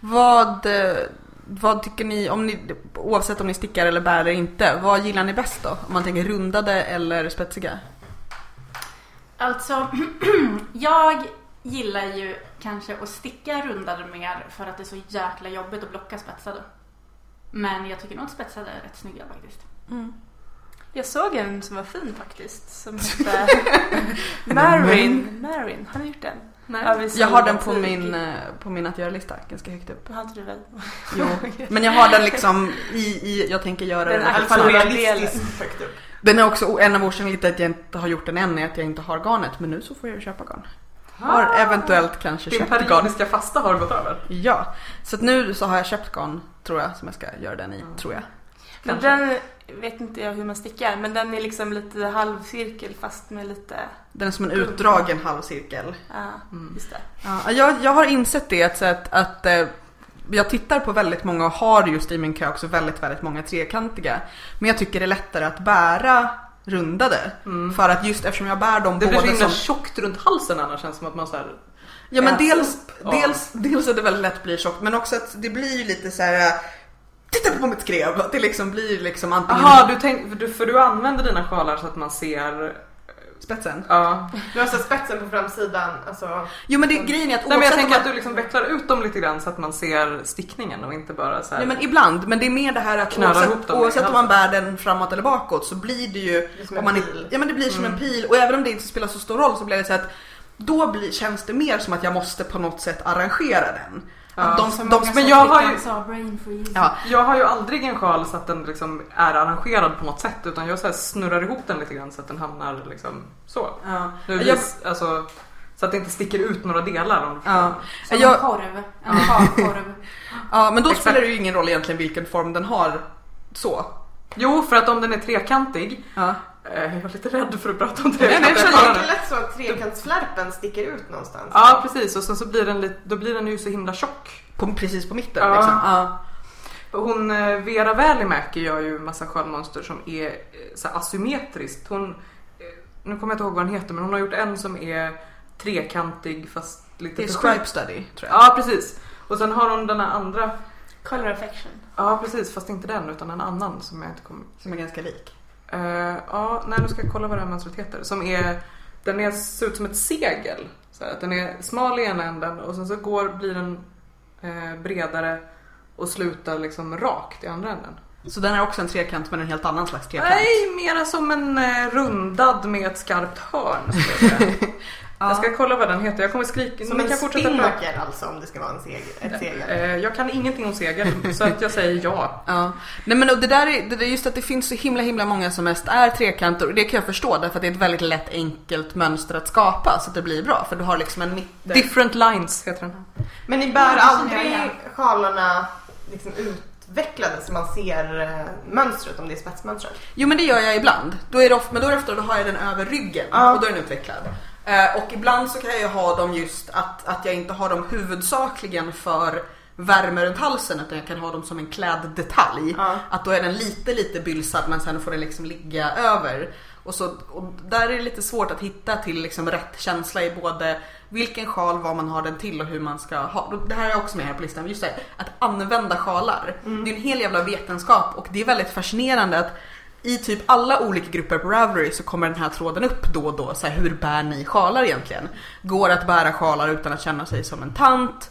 Speaker 1: Vad, eh, vad tycker ni, om ni, oavsett om ni stickar eller bär eller inte, vad gillar ni bäst då? Om man tänker rundade eller spetsiga?
Speaker 3: Alltså, jag gillar ju kanske att sticka rundade mer för att det är så jäkla jobbigt att blocka spetsade. Men jag tycker nog att spetsade är rätt snygga faktiskt.
Speaker 4: Mm. Jag såg en som var fin faktiskt. Som hette Marin. Marin, har ni gjort den? Ja, vi såg
Speaker 1: Jag har den på
Speaker 4: tidigt.
Speaker 1: min, eh, på min att göra-lista, ganska högt upp.
Speaker 4: Har inte du väl?
Speaker 1: Jo. Men jag har den liksom i, i jag tänker göra
Speaker 4: Den
Speaker 1: den.
Speaker 2: I alla fall
Speaker 5: alltså-
Speaker 4: Absolut.
Speaker 2: realistiskt högt upp.
Speaker 1: Den är också, en av orsakerna till att jag inte har gjort den än är att jag inte har garnet, men nu så får jag köpa garn. Har eventuellt kanske
Speaker 5: Ah. Din
Speaker 1: köpt garn.
Speaker 5: periodiska fasta har gått över.
Speaker 1: Ja, så att nu så har jag köpt garn tror jag som jag ska göra den i, tror jag.
Speaker 4: Men
Speaker 5: Kanske.
Speaker 4: den vet inte jag hur man stickar men den är liksom lite halvcirkel fast med lite,
Speaker 1: Den är som en utdragen halvcirkel.
Speaker 4: ja
Speaker 1: Mm.
Speaker 4: just det.
Speaker 1: Ja, jag, jag har insett det att, så att, att eh, jag tittar på väldigt många och har just i min kö också väldigt, väldigt många trekantiga. Men jag tycker det är lättare att bära rundade. För att just eftersom jag bär dem
Speaker 5: Mm. Det blir så
Speaker 1: båda
Speaker 5: himla
Speaker 1: som...
Speaker 5: tjockt runt halsen annars känns det som att man så här.
Speaker 1: Ja men
Speaker 5: Äts
Speaker 1: dels,
Speaker 5: av.
Speaker 1: dels, dels att det väldigt lätt blir tjockt men också att det blir ju lite så här. eh, Titta på mitt skrev! Att det liksom blir liksom antingen
Speaker 5: Jaha, du tänk, för, du, för du använder dina sjalar så att man ser.
Speaker 1: spetsen.
Speaker 5: Ja.
Speaker 2: Du har så här spetsen på framsidan. Alltså,
Speaker 1: Jo men det, grejen är att
Speaker 5: Nej, men jag
Speaker 1: om
Speaker 5: tänker
Speaker 1: man-
Speaker 5: att du liksom vecklar ut dem lite grann så att man ser stickningen och inte bara så här.
Speaker 1: Ja, men ibland, men det är mer det här att
Speaker 5: Knöla
Speaker 1: oavsett,
Speaker 5: ihop dem i
Speaker 1: oavsett om man
Speaker 5: halsen.
Speaker 1: bär den framåt eller bakåt så blir det ju
Speaker 2: Det är
Speaker 1: om
Speaker 2: som en
Speaker 1: man,
Speaker 2: pil.
Speaker 1: Ja men det blir som en pil och även om det inte spelar så stor roll så blir det så att då blir, känns det mer som att jag måste på något sätt arrangera den. Att
Speaker 5: Ja.
Speaker 1: de,
Speaker 3: Så
Speaker 1: de,
Speaker 3: många
Speaker 1: de,
Speaker 3: som
Speaker 5: men jag har
Speaker 3: stickan
Speaker 5: ju-
Speaker 3: sa brain freeze.
Speaker 1: ja,
Speaker 5: Jag har ju aldrig en sjal så att den liksom är arrangerad på något sätt utan jag så här snurrar ihop den lite grann så att den hamnar liksom så.
Speaker 1: ja.
Speaker 5: Nu
Speaker 1: Jag-
Speaker 5: vis, alltså, så att det inte sticker ut några delar. Om,
Speaker 1: Ja.
Speaker 3: Som
Speaker 1: Jag-
Speaker 3: en korv. En farkorv.
Speaker 1: ja, men då
Speaker 5: Exakt.
Speaker 1: spelar det ju ingen roll egentligen vilken form den har så.
Speaker 5: Jo, för att om den är trekantig.
Speaker 1: Ja.
Speaker 5: Eh, jag var lite rädd för att prata om
Speaker 2: det
Speaker 5: trekantiga
Speaker 2: är
Speaker 5: sjalar.
Speaker 2: lätt så att trekantsflärpen sticker ut någonstans.
Speaker 5: Ja, precis. Och sen så blir den, lite, då blir den ju så himla tjock.
Speaker 1: På, precis på mitten
Speaker 5: Ja.
Speaker 1: liksom. Ja.
Speaker 5: Hon eh, Vera Välimäki gör ju massa skönmonster som är eh, så här asymmetriskt. Hon, eh, nu kommer jag inte ihåg vad hon heter men hon har gjort en som är trekantig fast lite
Speaker 1: Det är stripe
Speaker 5: förskjuten.
Speaker 1: study tror jag.
Speaker 5: Ja precis. Och sen har hon den här andra.
Speaker 4: Color affection.
Speaker 5: Ja precis fast inte den utan en annan som jag inte kommer
Speaker 1: Som är ganska lik.
Speaker 5: Eh, ja, nej nu ska jag kolla vad det här mönstret heter. Som är, den är, ser ut som ett segel. Så här, att den är smal i ena änden och sen så går, blir den eh, bredare och slutar liksom rakt i andra änden.
Speaker 1: Så den är också en trekant men en helt annan slags trekant.
Speaker 5: Nej, mera som en eh, rundad med ett skarpt hörn. skulle Jag, säga. jag ska kolla vad den heter. Jag kommer skrika.
Speaker 2: Som
Speaker 5: ni
Speaker 2: en
Speaker 5: kan fortsätta prata.
Speaker 2: spinnaker alltså om det ska vara en seg, ett segel.
Speaker 5: Eh, jag kan ingenting om segel så att jag säger ja.
Speaker 1: Ja. Nej men och det där är, det där är just att det finns så himla himla många som mest är trekanter och det kan jag förstå därför att det är ett väldigt lätt enkelt mönster att skapa så att det blir bra för du har liksom en mitt.
Speaker 5: Different lines heter den.
Speaker 2: Men ni bär
Speaker 3: Ja,
Speaker 2: aldrig
Speaker 3: ja.
Speaker 2: sjalarna liksom utvecklade så man ser eh, mönstret om det är spetsmönstret?
Speaker 1: Jo men det gör jag ibland. Då är det ofta, men då är det ofta då har jag den över ryggen
Speaker 2: Ja.
Speaker 1: och då är den utvecklad. Eh, och ibland så kan jag ju ha dem just att, att jag inte har dem huvudsakligen för värme runt halsen utan jag kan ha dem som en kläddetalj.
Speaker 2: Ja.
Speaker 1: Att då är den lite lite bylsad men sen får den liksom ligga över. Och, så, och där är det lite svårt att hitta till liksom rätt känsla i både vilken sjal, vad man har den till och hur man ska ha. Det här är också med här på listan, just det, här, att använda sjalar.
Speaker 2: Mm.
Speaker 1: Det är en hel jävla vetenskap och det är väldigt fascinerande att i typ alla olika grupper på Ravelry så kommer den här tråden upp då och då. Så här, hur bär ni sjalar egentligen? Går att bära sjalar utan att känna sig som en tant?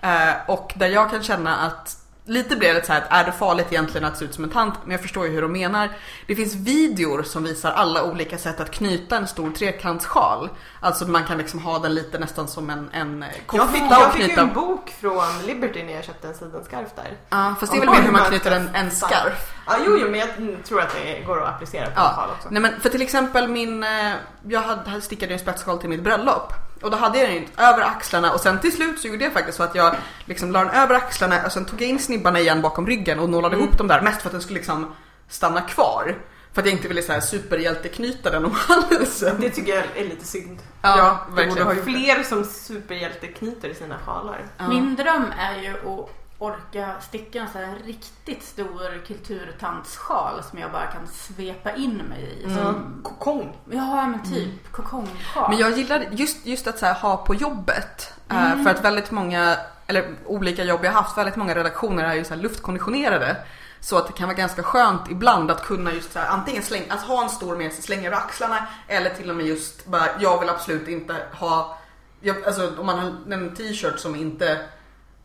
Speaker 1: Eh, och där jag kan känna att lite blir det så här att är det farligt egentligen att se ut som en tant? Men jag förstår ju hur de menar. Det finns videor som visar alla olika sätt att knyta en stor trekantssjal. Alltså man kan liksom ha den lite nästan som en, en
Speaker 2: Jag fick,
Speaker 1: kofta
Speaker 2: jag
Speaker 1: och
Speaker 2: fick ju
Speaker 1: knyta.
Speaker 2: en bok från Liberty när jag köpte en sidenskarf där.
Speaker 1: Ja, fast det är väl
Speaker 2: Oj,
Speaker 1: mer hur man
Speaker 2: vad
Speaker 1: knyter en, en
Speaker 2: intressant.
Speaker 1: skarf.
Speaker 2: Ja, jo, jo, men jag mm, tror att det går att applicera på
Speaker 1: Ja.
Speaker 2: ja. fall också.
Speaker 1: Nej men för till exempel min, eh, jag hade, hade stickade ju en spetsskal till mitt bröllop. Och då hade jag den ju över axlarna och sen till slut så gjorde jag faktiskt så att jag liksom la den över axlarna och sen tog jag in snibbarna igen bakom ryggen och nålade ihop dem där. Mest för att den skulle liksom stanna kvar. För att jag inte ville så här superhjälteknyta den om halsen.
Speaker 2: Det tycker jag är lite synd.
Speaker 1: Ja,
Speaker 2: Det borde
Speaker 1: verkligen.
Speaker 2: ha fler som superhjälteknyter i sina sjalar.
Speaker 1: Ja.
Speaker 3: Min dröm är ju att orka sticka en sån här riktigt stor kulturtantssjal som jag bara kan svepa in mig i.
Speaker 1: Mm.
Speaker 3: Som,
Speaker 2: Kokong.
Speaker 3: ja men typ kokongsjal.
Speaker 1: Men jag gillar just, just att så här, ha på jobbet. eh,
Speaker 2: Mm.
Speaker 1: För att väldigt många, eller olika jobb jag haft, väldigt många redaktioner är ju så här luftkonditionerade. Så att det kan vara ganska skönt ibland att kunna just så här, antingen släng, att ha en stor med sig, slänga över axlarna eller till och med just bara, jag vill absolut inte ha, jag, alltså om man har en t-shirt som inte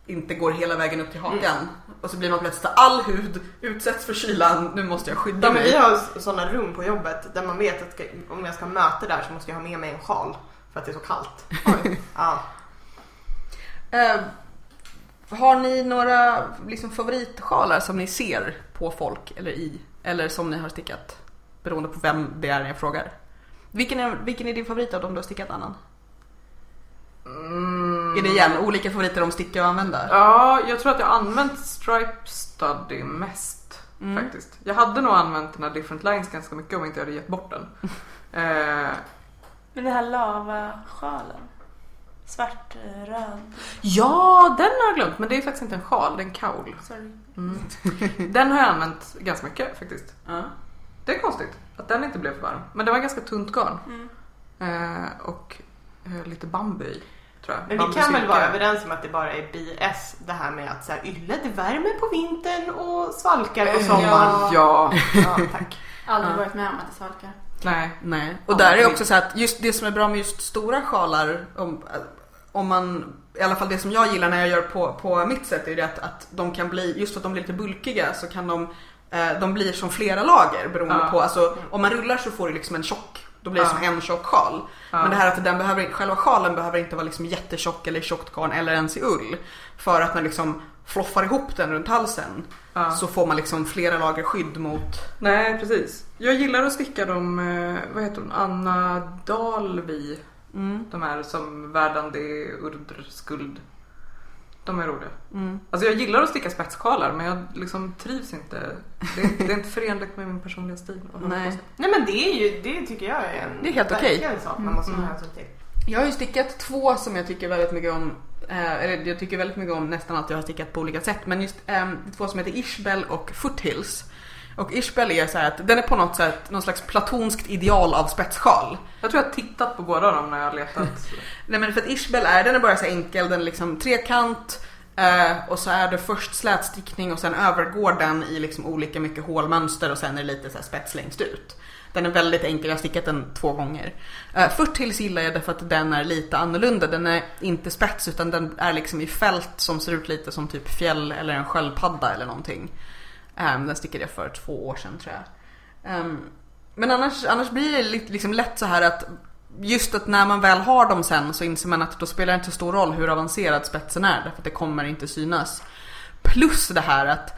Speaker 1: inte går hela vägen upp till hakan.
Speaker 2: Mm.
Speaker 1: Och så blir man plötsligt så här, all hud utsätts för kylan, nu måste jag skydda
Speaker 2: Ja, men
Speaker 1: mig.
Speaker 2: vi har sådana rum på jobbet där man vet att ska, om jag ska ha möte där så måste jag ha med mig en sjal för att det är så kallt. Ja.
Speaker 1: Eh, har ni några liksom, favoritsjalar som ni ser på folk eller i? Eller som ni har stickat? Beroende på vem det är jag frågar. Vilken är, vilken är din favorit av dem du har stickat annan?
Speaker 5: Mm.
Speaker 1: Är det igen olika favoriter om sticka och använda?
Speaker 5: Ja, jag tror att jag har använt Stripe Study mest
Speaker 1: Mm.
Speaker 5: faktiskt. Jag hade nog använt den här Different Lines ganska mycket om inte jag hade gett bort den. eh,
Speaker 4: Men den här lavasjalen. Svart, eh, röd.
Speaker 5: ja, den har jag glömt, men det är faktiskt inte en sjal, det är en kaul.
Speaker 4: Sorry.
Speaker 5: Mm. den har jag använt ganska mycket faktiskt.
Speaker 1: Ja.
Speaker 5: Det är konstigt att den inte blev för varm. Men det var ganska tunt garn.
Speaker 4: Mm.
Speaker 5: Eh, och eh, lite bambu i, tror jag.
Speaker 2: Men vi
Speaker 5: Bambu
Speaker 2: kan väl
Speaker 5: silke.
Speaker 2: vara överens om att det bara är BS det här med att så här, ylle det värmer på vintern och svalkar på sommaren.
Speaker 5: Ja. ja.
Speaker 2: Ja, tack.
Speaker 3: Aldrig
Speaker 1: Ja.
Speaker 3: varit med om att det svalkar.
Speaker 5: Nej.
Speaker 1: Nej. Och
Speaker 5: Ja,
Speaker 1: där är
Speaker 5: det-
Speaker 1: också så här att just det som är bra med just stora sjalar, om, om man, i alla fall det som jag gillar när jag gör på, på mitt sätt, är ju det att, att de kan bli, just för att de blir lite bulkiga så kan de, eh, de blir som flera lager beroende
Speaker 5: Ja.
Speaker 1: på, alltså om man rullar så får du liksom en tjock, då blir det
Speaker 5: Ja.
Speaker 1: som en tjock sjal.
Speaker 5: Ja.
Speaker 1: Men det här att den behöver, själva sjalen behöver inte vara liksom jättetjock eller i tjockt garn eller ens i ull. För att man liksom floffar ihop den runt halsen
Speaker 5: Ja.
Speaker 1: så får man liksom flera lager skydd mot
Speaker 5: Nej, precis. Jag gillar att sticka de, eh, vad heter hon, Anna Dalvi.
Speaker 1: mm,
Speaker 5: De här som Verdandi Urdrskuld. De är roliga.
Speaker 1: mm.
Speaker 5: Alltså jag gillar att sticka spetskalar men jag liksom trivs inte. Det är, det är inte förenligt med min personliga stil. att hålla
Speaker 1: Nej.
Speaker 5: på så.
Speaker 2: Nej men det är ju, det tycker jag är en
Speaker 1: Det är helt okej. Mm.
Speaker 2: verkligen sak man måste ta hänsyn till.
Speaker 1: Jag har ju stickat två som jag tycker väldigt mycket om. Eh, eller jag tycker väldigt mycket om nästan allt jag har stickat på olika sätt. Men just eh, två som heter Ishbel och Foothills. Och Ishbel är så här att den är på något sätt någon slags platonskt ideal av spetssjal.
Speaker 5: Jag tror jag har tittat på båda dem när jag har letat.
Speaker 1: Nej men för att Ishbel är, den är bara så här enkel, den är liksom trekant eh, och så är det först slätstickning och sen övergår den i liksom olika mycket hålmönster och sen är det lite så här spets längst ut. Den är väldigt enkel, jag har stickat den två gånger. Eh, Foothills gillar jag därför att den är lite annorlunda, den är inte spets utan den är liksom i fält som ser ut lite som typ fjäll eller en sköldpadda eller någonting. Eh, den stickade jag för två år sedan tror jag. Ehm, men annars, annars blir det li- liksom lätt så här att just att när man väl har dem sen så inser man att då spelar det inte så stor roll hur avancerad spetsen är därför att det kommer inte synas. Plus det här att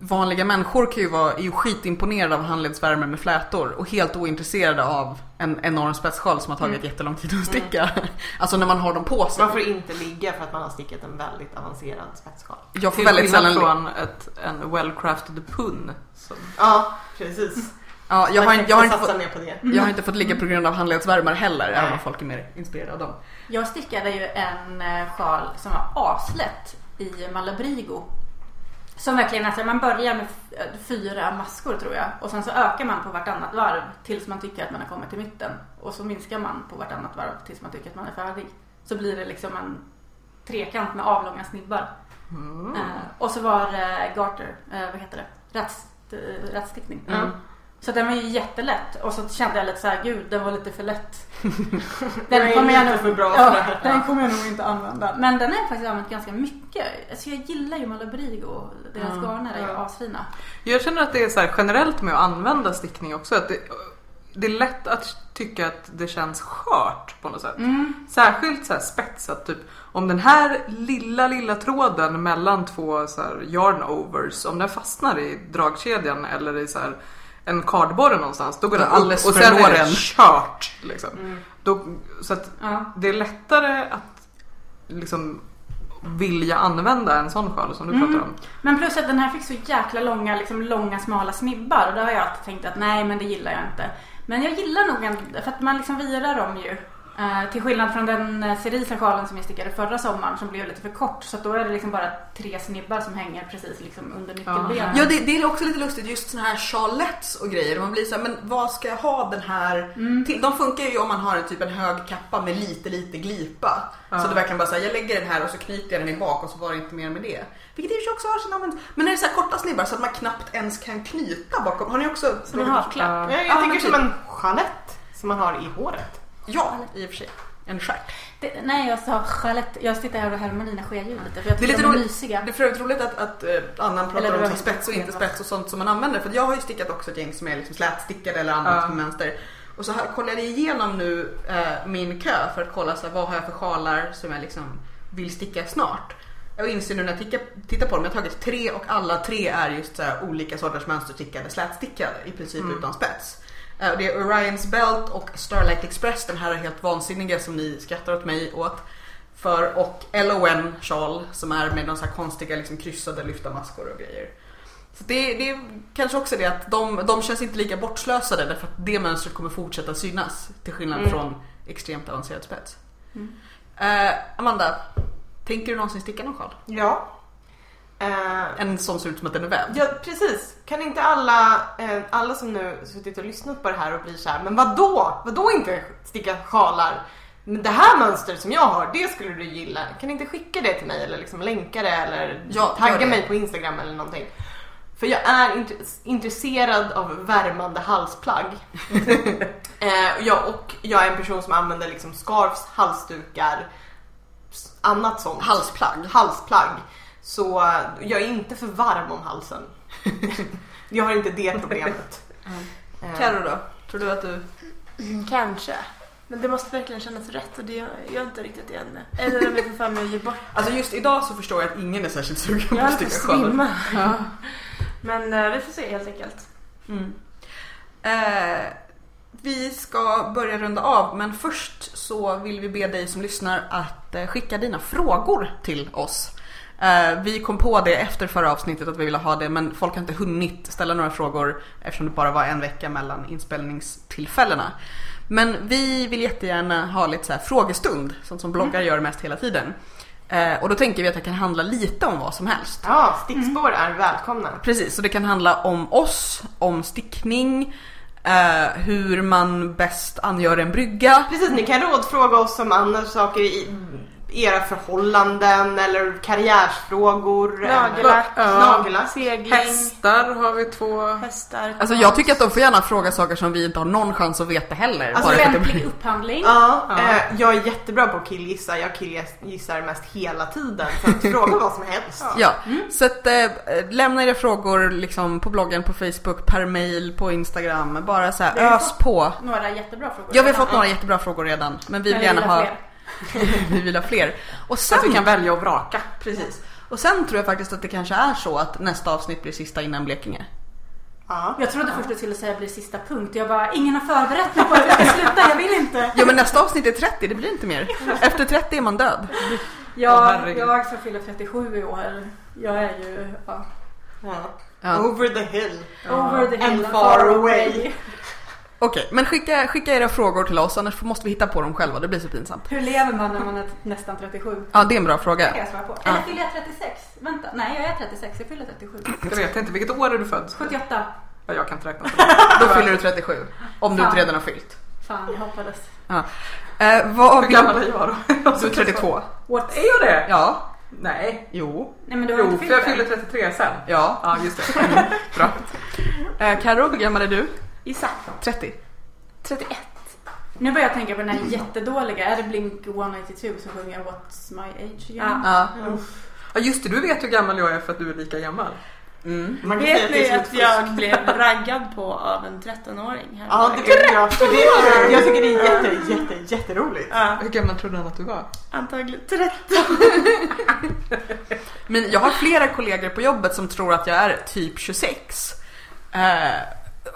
Speaker 1: vanliga människor kan ju vara, är ju skitimponerade av handledsvärme med flätor och helt ointresserade av en enorm spetssjal som har tagit jättelång tid att sticka. Alltså när man har dem på sig.
Speaker 2: Mm. Man får inte ligga för att man har stickat en väldigt avancerad spetsskal.
Speaker 1: Jag får
Speaker 5: Till
Speaker 1: väldigt
Speaker 5: skillnad
Speaker 1: sällan...
Speaker 5: från ett, en well-crafted pun. Som,
Speaker 2: Ja, precis.
Speaker 1: Ja, jag har,
Speaker 2: man
Speaker 1: jag, har
Speaker 2: kan
Speaker 1: inte
Speaker 2: satsa
Speaker 1: fått,
Speaker 2: mer på det.
Speaker 1: jag har inte fått ligga på grund av handledsvärmar heller,
Speaker 2: Nej.
Speaker 1: även om folk är mer inspirerade av dem.
Speaker 3: Jag stickade ju en eh, sjal som var aslätt i Malabrigo. Som verkligen är så här, man börjar med f- eh, fyra maskor tror jag och sen så ökar man på vartannat varv tills man tycker att man har kommit till mitten. Och så minskar man på vartannat varv tills man tycker att man är färdig. Så blir det liksom en trekant med avlånga snibbar.
Speaker 5: Mm.
Speaker 3: Eh, och så var eh, Garter, eh, vad heter det, Rätts, eh, rättstickning.
Speaker 1: Mm.
Speaker 3: Så den var ju jättelätt och så kände jag lite så här, gud den var lite för lätt.
Speaker 2: Den är lite för bra för
Speaker 3: ja,
Speaker 2: det här.
Speaker 3: den kommer jag nog inte använda. Men den har jag faktiskt använt ganska mycket. Alltså jag gillar ju Malabrigo, deras
Speaker 5: Mm.
Speaker 3: garner är ju
Speaker 2: Ja.
Speaker 3: asfina.
Speaker 5: Jag känner att det är så här generellt med att använda stickning också. Att det, det är lätt att tycka att det känns skört på något
Speaker 1: Mm.
Speaker 5: sätt.
Speaker 2: Mm.
Speaker 5: Särskilt så här spetsat. Typ, om den här lilla, lilla tråden mellan två så här yarn overs, om den fastnar i dragkedjan eller i så här en kardborre någonstans, då går
Speaker 1: Ja,
Speaker 5: den upp och
Speaker 1: alldeles för
Speaker 5: sen är
Speaker 1: låren.
Speaker 5: det kört. Liksom.
Speaker 2: Mm.
Speaker 5: Då, så att
Speaker 3: Ja.
Speaker 5: det är lättare att liksom vilja använda en sån sjal som du
Speaker 3: Mm.
Speaker 5: pratar om.
Speaker 3: Men plus att den här fick så jäkla långa, liksom långa smala snibbar och då har jag alltid tänkt att nej men det gillar jag inte. Men jag gillar nog en, för att man liksom virar dem ju. Eh, till skillnad från den eh, cerisa sjalen som jag stickade förra sommaren som blev lite för kort så att då är det liksom bara tre snibbar som hänger precis liksom under nyckelbenet.
Speaker 1: Ja det, det är också lite lustigt just såna här charlettes och grejer. Man blir så här, men vad ska jag ha den här till? De funkar ju om man har en typ en hög kappa med lite lite glipa.
Speaker 5: Ja.
Speaker 1: Så det verkligen bara säga jag lägger den här och så knyter jag den i bak och så var det inte mer med det. Vilket i och för sig också har sin användning. Men när det är så här korta snibbar så att man knappt ens kan knyta bakom. Har ni också?
Speaker 3: Som en haklapp.
Speaker 5: Ja.
Speaker 2: Jag,
Speaker 1: Ja,
Speaker 2: jag
Speaker 1: men
Speaker 2: tänker
Speaker 1: typ.
Speaker 2: som en chalett som man har i håret.
Speaker 1: Ja, i och för sig. En stjärt.
Speaker 3: Det, nej, jag sa Charlotte. Jag sitter här och härmar dina skedjur lite för jag
Speaker 1: Det är
Speaker 3: tycker
Speaker 1: lite
Speaker 3: de är
Speaker 1: roligt.
Speaker 3: mysiga.
Speaker 1: Det är för övrigt roligt att, att eh, Annan pratar
Speaker 3: Eller
Speaker 1: om
Speaker 3: det
Speaker 1: så
Speaker 3: var-
Speaker 1: spets och inte spets och sånt som man använder. För att jag har ju stickat också ett gäng som är liksom slätstickade eller annat
Speaker 5: Ja.
Speaker 1: med mönster. Och så här, kollade jag igenom nu eh, min kö för att kolla så här, vad har jag för sjalar som jag liksom vill sticka snart. Jag inser nu när jag tickar, tittar på dem, jag har tagit tre och alla tre är just så här, olika sorters mönsterstickade, slätstickade i princip
Speaker 5: Mm.
Speaker 1: utan spets. Eh, och Det är Orion's Belt och Starlight Express, den här helt vansinniga som ni skrattar åt mig åt för och LON sjal som är med någon så här konstiga liksom kryssade lyfta maskor och grejer. Så det, det är kanske också det att de, de känns inte lika bortslösade därför att det mönstret kommer fortsätta synas till skillnad
Speaker 2: Mm.
Speaker 1: från extremt avancerad spets.
Speaker 3: Mm.
Speaker 1: Eh, Amanda, tänker du någonsin sticka någon sjal?
Speaker 2: Ja. Eh,
Speaker 1: En som ser ut som att den är vävd?
Speaker 2: Ja precis. Kan inte alla, eh, alla som nu suttit och lyssnat på det här och blir så här, men vadå? Vadå inte sticka sjalar? Men det här mönstret som jag har, det skulle du gilla. Kan inte skicka det till mig eller liksom länka det eller
Speaker 1: Ja, gör
Speaker 2: tagga
Speaker 1: det.
Speaker 2: mig på Instagram eller någonting. För jag är int- intresserad av värmande halsplagg. eh, och jag, och jag är en person som använder liksom scarfs, halsdukar, s- annat sånt
Speaker 1: Halsplagg?
Speaker 2: halsplagg. Så eh, jag är inte för varm om halsen. jag har inte det problemet. Eh,
Speaker 1: Carro då? Tror du att du...
Speaker 4: Kanske. Men det måste verkligen kännas rätt och det gör jag inte riktigt det ännu. Eller om jag får för mig att ge bort
Speaker 1: Alltså just idag så förstår jag att ingen är särskilt sugen
Speaker 4: Jag
Speaker 1: på att
Speaker 4: höll på
Speaker 1: sticka
Speaker 4: att
Speaker 1: sjalar.
Speaker 4: svimma. Men eh, vi får se helt enkelt.
Speaker 1: Mm. Eh, vi ska börja runda av men först så vill vi be dig som lyssnar att eh, skicka dina frågor till oss. Eh, vi kom på det efter förra avsnittet att vi ville ha det men folk har inte hunnit ställa några frågor eftersom det bara var en vecka mellan inspelningstillfällena. Men vi vill jättegärna ha lite så här frågestund, sånt som
Speaker 4: Mm.
Speaker 1: bloggar gör mest hela tiden. Eh, och då tänker vi att det kan handla lite om vad som helst.
Speaker 2: Ja, stickspår
Speaker 4: Mm.
Speaker 2: är välkomna.
Speaker 1: Precis, så det kan handla om oss, om stickning, eh, hur man bäst angör en brygga.
Speaker 2: Precis, ni kan rådfråga oss om andra saker i era förhållanden eller karriärsfrågor. Eh, eller-
Speaker 4: Nagellack,
Speaker 5: Ja.
Speaker 2: Nagellack.
Speaker 4: segling,
Speaker 5: eh, Hästar har vi två.
Speaker 4: hästar.
Speaker 1: Alltså jag tycker att de får gärna fråga saker som vi inte har någon chans att veta heller.
Speaker 2: Alltså,
Speaker 1: bara för att det
Speaker 3: Lämplig upphandling.
Speaker 2: Ja,
Speaker 5: Ja.
Speaker 2: eh, jag är jättebra på att killgissa. Jag killgissar mest hela tiden. Så att fråga vad som helst.
Speaker 1: Ja, så att, eh, lämna era frågor liksom, på bloggen, på Facebook, per mail, på Instagram. Bara så
Speaker 3: Vi har
Speaker 1: här, ös
Speaker 3: fått-
Speaker 1: på.
Speaker 3: Några jättebra frågor.
Speaker 1: Ja, vi har fått några jättebra frågor redan, men vi vill gärna ha, vi vill ha fler. Och
Speaker 5: Så
Speaker 1: sen
Speaker 5: att vi kan välja och vraka.
Speaker 1: Precis. Och sen tror jag faktiskt att det kanske är så att nästa avsnitt blir sista innan Blekinge.
Speaker 2: Ja.
Speaker 3: Jag trodde först du skulle säga blir sista punkt jag bara, ingen har förberett mig på att jag ska sluta, jag vill inte.
Speaker 1: Ja men nästa avsnitt är 30, det blir inte mer. Efter 30 är man död.
Speaker 5: Åh,
Speaker 3: Jag,
Speaker 5: herregud.
Speaker 3: jag som fyller 37 i år, jag är ju ja,
Speaker 2: Ja.
Speaker 1: Ja. Oh,
Speaker 2: Over the hill.
Speaker 3: over the hill
Speaker 2: And far away.
Speaker 1: Okej, men skicka, skicka era frågor till oss annars måste vi hitta på dem själva, det blir så pinsamt.
Speaker 3: Hur lever man när man är nästan 37?
Speaker 1: Ja, det är en bra fråga.
Speaker 3: Det kan jag svara på.
Speaker 1: Ja.
Speaker 3: Eller fyller jag 36? Vänta, nej jag är 36, jag fyller 37.
Speaker 5: Det vet jag inte. Vilket år är du född?
Speaker 3: 78.
Speaker 5: Ja, jag kan inte räkna.
Speaker 1: Då fyller du 37. Om du inte redan har fyllt.
Speaker 3: Fan, jag hoppades.
Speaker 1: Eh, vad,
Speaker 5: Hur gammal är jag då?
Speaker 1: Du är 32.
Speaker 3: What?
Speaker 5: Är jag det?
Speaker 1: Ja.
Speaker 5: Nej.
Speaker 1: Jo.
Speaker 3: Nej men du har
Speaker 5: Jo,
Speaker 3: inte
Speaker 5: för
Speaker 3: fyllt
Speaker 5: jag
Speaker 3: än.
Speaker 5: fyller 33 sen.
Speaker 1: Ja.
Speaker 5: Ja, just det.
Speaker 1: Bra. Eh, Carro, hur gammal är du?
Speaker 4: Gissa.
Speaker 1: 30.
Speaker 4: 31.
Speaker 3: Nu börjar jag tänka på den här jättedåliga, är det Blink 182 som sjunger What's My Age Again?
Speaker 1: Ja.
Speaker 4: Mm.
Speaker 5: Ja, just det. Du vet hur gammal jag är för att du är lika gammal.
Speaker 1: Mm.
Speaker 2: Man kan
Speaker 4: Vet
Speaker 2: säga att det
Speaker 4: ni
Speaker 2: är som
Speaker 4: att
Speaker 2: ett fusk.
Speaker 4: jag blev raggad på av en 13-åring här
Speaker 2: Ja, det vet jag. För det är, jag tycker det är jätte, jätte, jätteroligt.
Speaker 4: Ja,
Speaker 5: Hur gammal trodde han att du var?
Speaker 4: antagligen 30.
Speaker 1: Men jag har flera kollegor på jobbet som tror att jag är typ 26. Eh,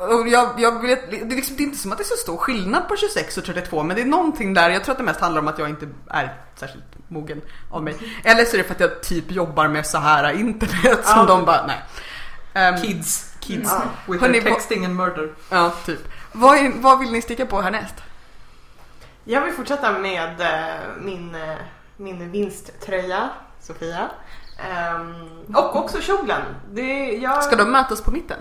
Speaker 1: och jag, jag vet, det, är liksom, det är inte som att det är så stor skillnad på 26 och 32 men det är någonting där, jag tror att det mest handlar om att jag inte är särskilt mogen av mig. Eller så är det för att jag typ jobbar med så här internet som
Speaker 2: Ja.
Speaker 1: de bara, nej. Ehm,
Speaker 5: Kids. Kids.
Speaker 2: Ja.
Speaker 5: With
Speaker 1: Hörni,
Speaker 5: their texting and murder.
Speaker 1: ja, typ. Vad, är, vad vill ni sticka på härnäst?
Speaker 2: Jag vill fortsätta med eh, min, eh, min vinsttröja, Sofia. Ehm, och också kjolen. Det, jag,
Speaker 1: Ska de mötas på mitten?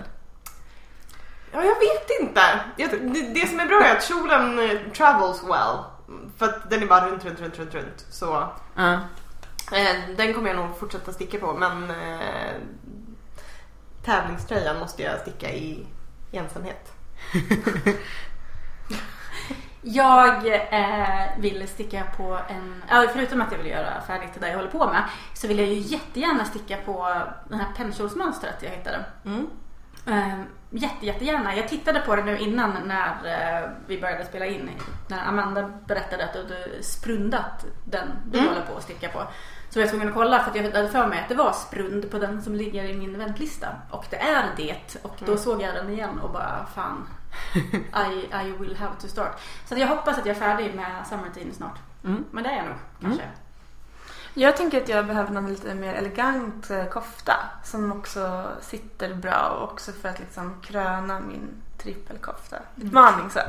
Speaker 2: ja, jag vet inte. Jag, det, det som är bra är att kjolen eh, travels well. För att den är bara runt, runt, runt, runt, runt. Så
Speaker 1: Ja.
Speaker 2: eh, den kommer jag nog fortsätta sticka på. Men eh, tävlingströjan måste jag sticka i ensamhet.
Speaker 3: Jag eh, vill sticka på en, ja, förutom att jag vill göra färdigt det där jag håller på med, så vill jag ju jättegärna sticka på det här pennkjolsmönstret jag hittade.
Speaker 1: Mm.
Speaker 3: Eh, jätte, jättegärna. Jag tittade på det nu innan när eh, vi började spela in. När Amanda berättade att du hade sprundat den du
Speaker 2: Mm.
Speaker 3: håller på att sticka på. Så var jag tvungen att kolla för att jag hade för mig att det var sprund på den som ligger i min väntlista. Och det är det. Och då såg jag den igen och bara fan. I, I will have to start. Så att jag hoppas att jag är färdig med summertiden snart.
Speaker 1: Mm.
Speaker 3: Men det är jag nog kanske.
Speaker 4: Jag tänker att jag behöver någon lite mer elegant eh, kofta som också sitter bra och också för att liksom kröna min trippelkofta. Utmaning så.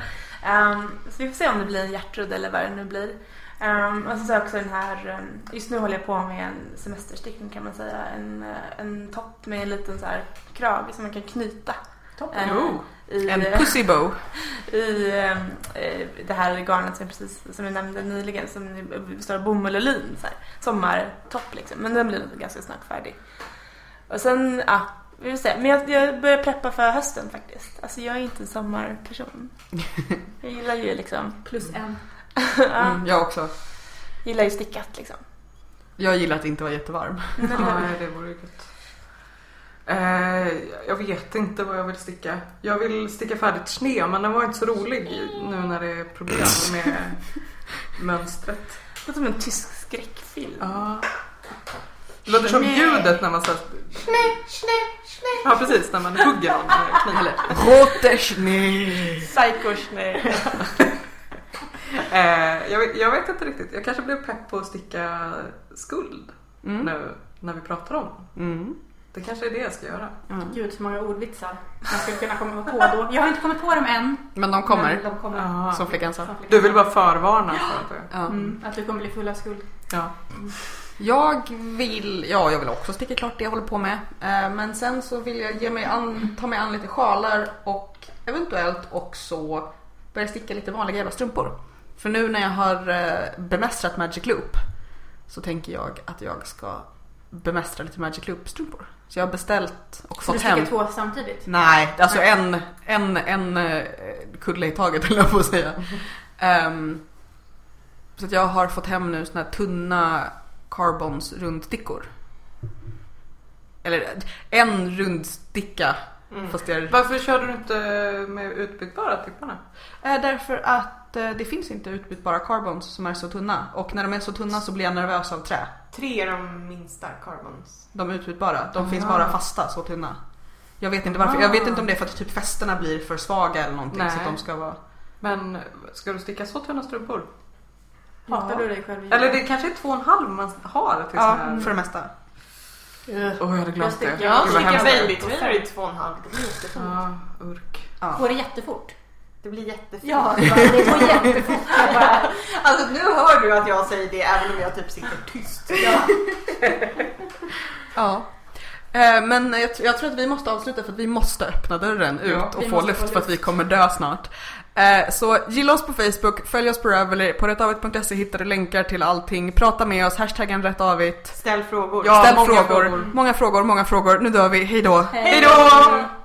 Speaker 4: Ehm, så vi får se om det blir en hjärtrudd eller vad det nu blir. Ehm, och så har jag också den här, ehm, just nu håller jag på med en semesterstickning kan man säga. En, eh, en topp med en liten så här krage som man kan knyta.
Speaker 3: Toppen.
Speaker 4: Eh,
Speaker 5: Oh.
Speaker 4: i,
Speaker 1: En pussy bow.
Speaker 4: i eh, eh, det här garnet som jag precis som jag nämnde nyligen som består av bomull och lin. Så här, sommartopp liksom. Men den blir nog ganska snart färdig. Och sen, ja, vi får se. Men jag, jag börjar preppa för hösten faktiskt. Alltså jag är inte en sommarperson. Jag gillar ju liksom,
Speaker 3: Plus en.
Speaker 4: ja,
Speaker 1: Mm, jag också.
Speaker 4: gillar ju stickat liksom.
Speaker 1: Jag gillar att inte vara jättevarm.
Speaker 5: Nej, det vore ju gött. Eh, jag vet inte vad jag vill sticka. Jag vill sticka färdigt sne, men den var inte så rolig nu när det är problem med mönstret.
Speaker 4: Det låter som en tysk skräckfilm.
Speaker 5: Ja. Det låter som ljudet när man såhär... Ja, precis. När man hugger någon med kniv.
Speaker 1: Roteschnee.
Speaker 4: Psychos, nej.
Speaker 5: Eh, jag, vet- jag vet inte riktigt. Jag kanske blev pepp på att sticka skuld
Speaker 1: Mm.
Speaker 5: nu när vi pratar om den.
Speaker 1: Mm.
Speaker 5: Det kanske är det jag ska göra.
Speaker 1: Mm.
Speaker 3: Gud så många ordvitsar man skulle kunna komma på då. Jag har inte kommit på dem än.
Speaker 1: Men de kommer,
Speaker 3: Men de kommer.
Speaker 1: som flickan sa.
Speaker 3: Som flickan
Speaker 5: Du vill
Speaker 3: sa.
Speaker 5: bara förvarna för att det...
Speaker 1: Ja.
Speaker 3: Mm, att du kommer bli full av skuld.
Speaker 5: Ja.
Speaker 1: Jag vill, ja jag vill också sticka klart det jag håller på med. Eh, Men sen så vill jag ge mig an, ta mig an lite sjalar och eventuellt också börja sticka lite vanliga jävla strumpor. För nu när jag har eh, bemästrat Magic Loop så tänker jag att jag ska bemästra lite Magic Loop strumpor. Så jag har beställt och
Speaker 3: Så du
Speaker 1: fått hem.
Speaker 3: sticker två samtidigt?
Speaker 1: Nej, alltså en, en, en eh, kulle i taget höll jag på att säga. Ehm, så att jag har fått hem nu såna här tunna carbons rundstickor. Eller en rundsticka.
Speaker 2: Mm.
Speaker 1: Fast jag,
Speaker 5: Varför körde du inte med utbytbara tipparna?
Speaker 1: Eh, därför att eh, det finns inte utbytbara carbons som är så tunna. Och när de är så tunna så blir jag nervös av trä.
Speaker 2: Tre är de minsta carbons.
Speaker 1: De är utbytbara. De finns
Speaker 5: Ah.
Speaker 1: bara fasta, så tunna. Jag vet inte varför. Jag vet
Speaker 5: Ah.
Speaker 1: inte om det är för att typ fästena blir för svaga eller någonting. Så att
Speaker 5: Nej.
Speaker 1: de ska vara...
Speaker 5: Men ska du sticka så tunna strumpor?
Speaker 3: Hatar du dig själv? Julia?
Speaker 5: Eller det kanske är två och en halv man har till
Speaker 1: Ja,
Speaker 5: sån här...
Speaker 1: för det mesta.
Speaker 5: Åh, jag hade glömt
Speaker 3: Jag
Speaker 5: det.
Speaker 3: sticker-
Speaker 5: Gud, vad
Speaker 2: Jag
Speaker 3: sticker
Speaker 5: hemskt.
Speaker 2: stickar
Speaker 3: hemskt.
Speaker 2: väldigt tröjor i två och en halv.
Speaker 5: Ja, urk.
Speaker 1: Ja.
Speaker 3: Går det jättefort?
Speaker 2: Det blir jättefint.
Speaker 3: Ja, det var- det går jättefort. Jag bara,
Speaker 2: Alltså nu hör du att jag säger det även om jag typ sitter tyst.
Speaker 3: ja.
Speaker 1: Ja. Eh, Men jag, tr- jag tror att vi måste avsluta för att vi måste öppna dörren ut
Speaker 5: Ja,
Speaker 1: och
Speaker 3: vi
Speaker 1: få
Speaker 3: måste
Speaker 1: luft
Speaker 3: få
Speaker 1: för att vi kommer dö snart. Eh, Så gilla oss på Facebook, följ oss på Ravelry, på rättavigt.se hittar du länkar till allting. Prata med oss, hashtaggen rättavigt.
Speaker 2: Ställ frågor.
Speaker 1: Ställ
Speaker 5: många
Speaker 1: frågor.
Speaker 5: frågor.
Speaker 1: Många frågor, många frågor. Nu dör vi, hej då.
Speaker 3: Hej
Speaker 2: då!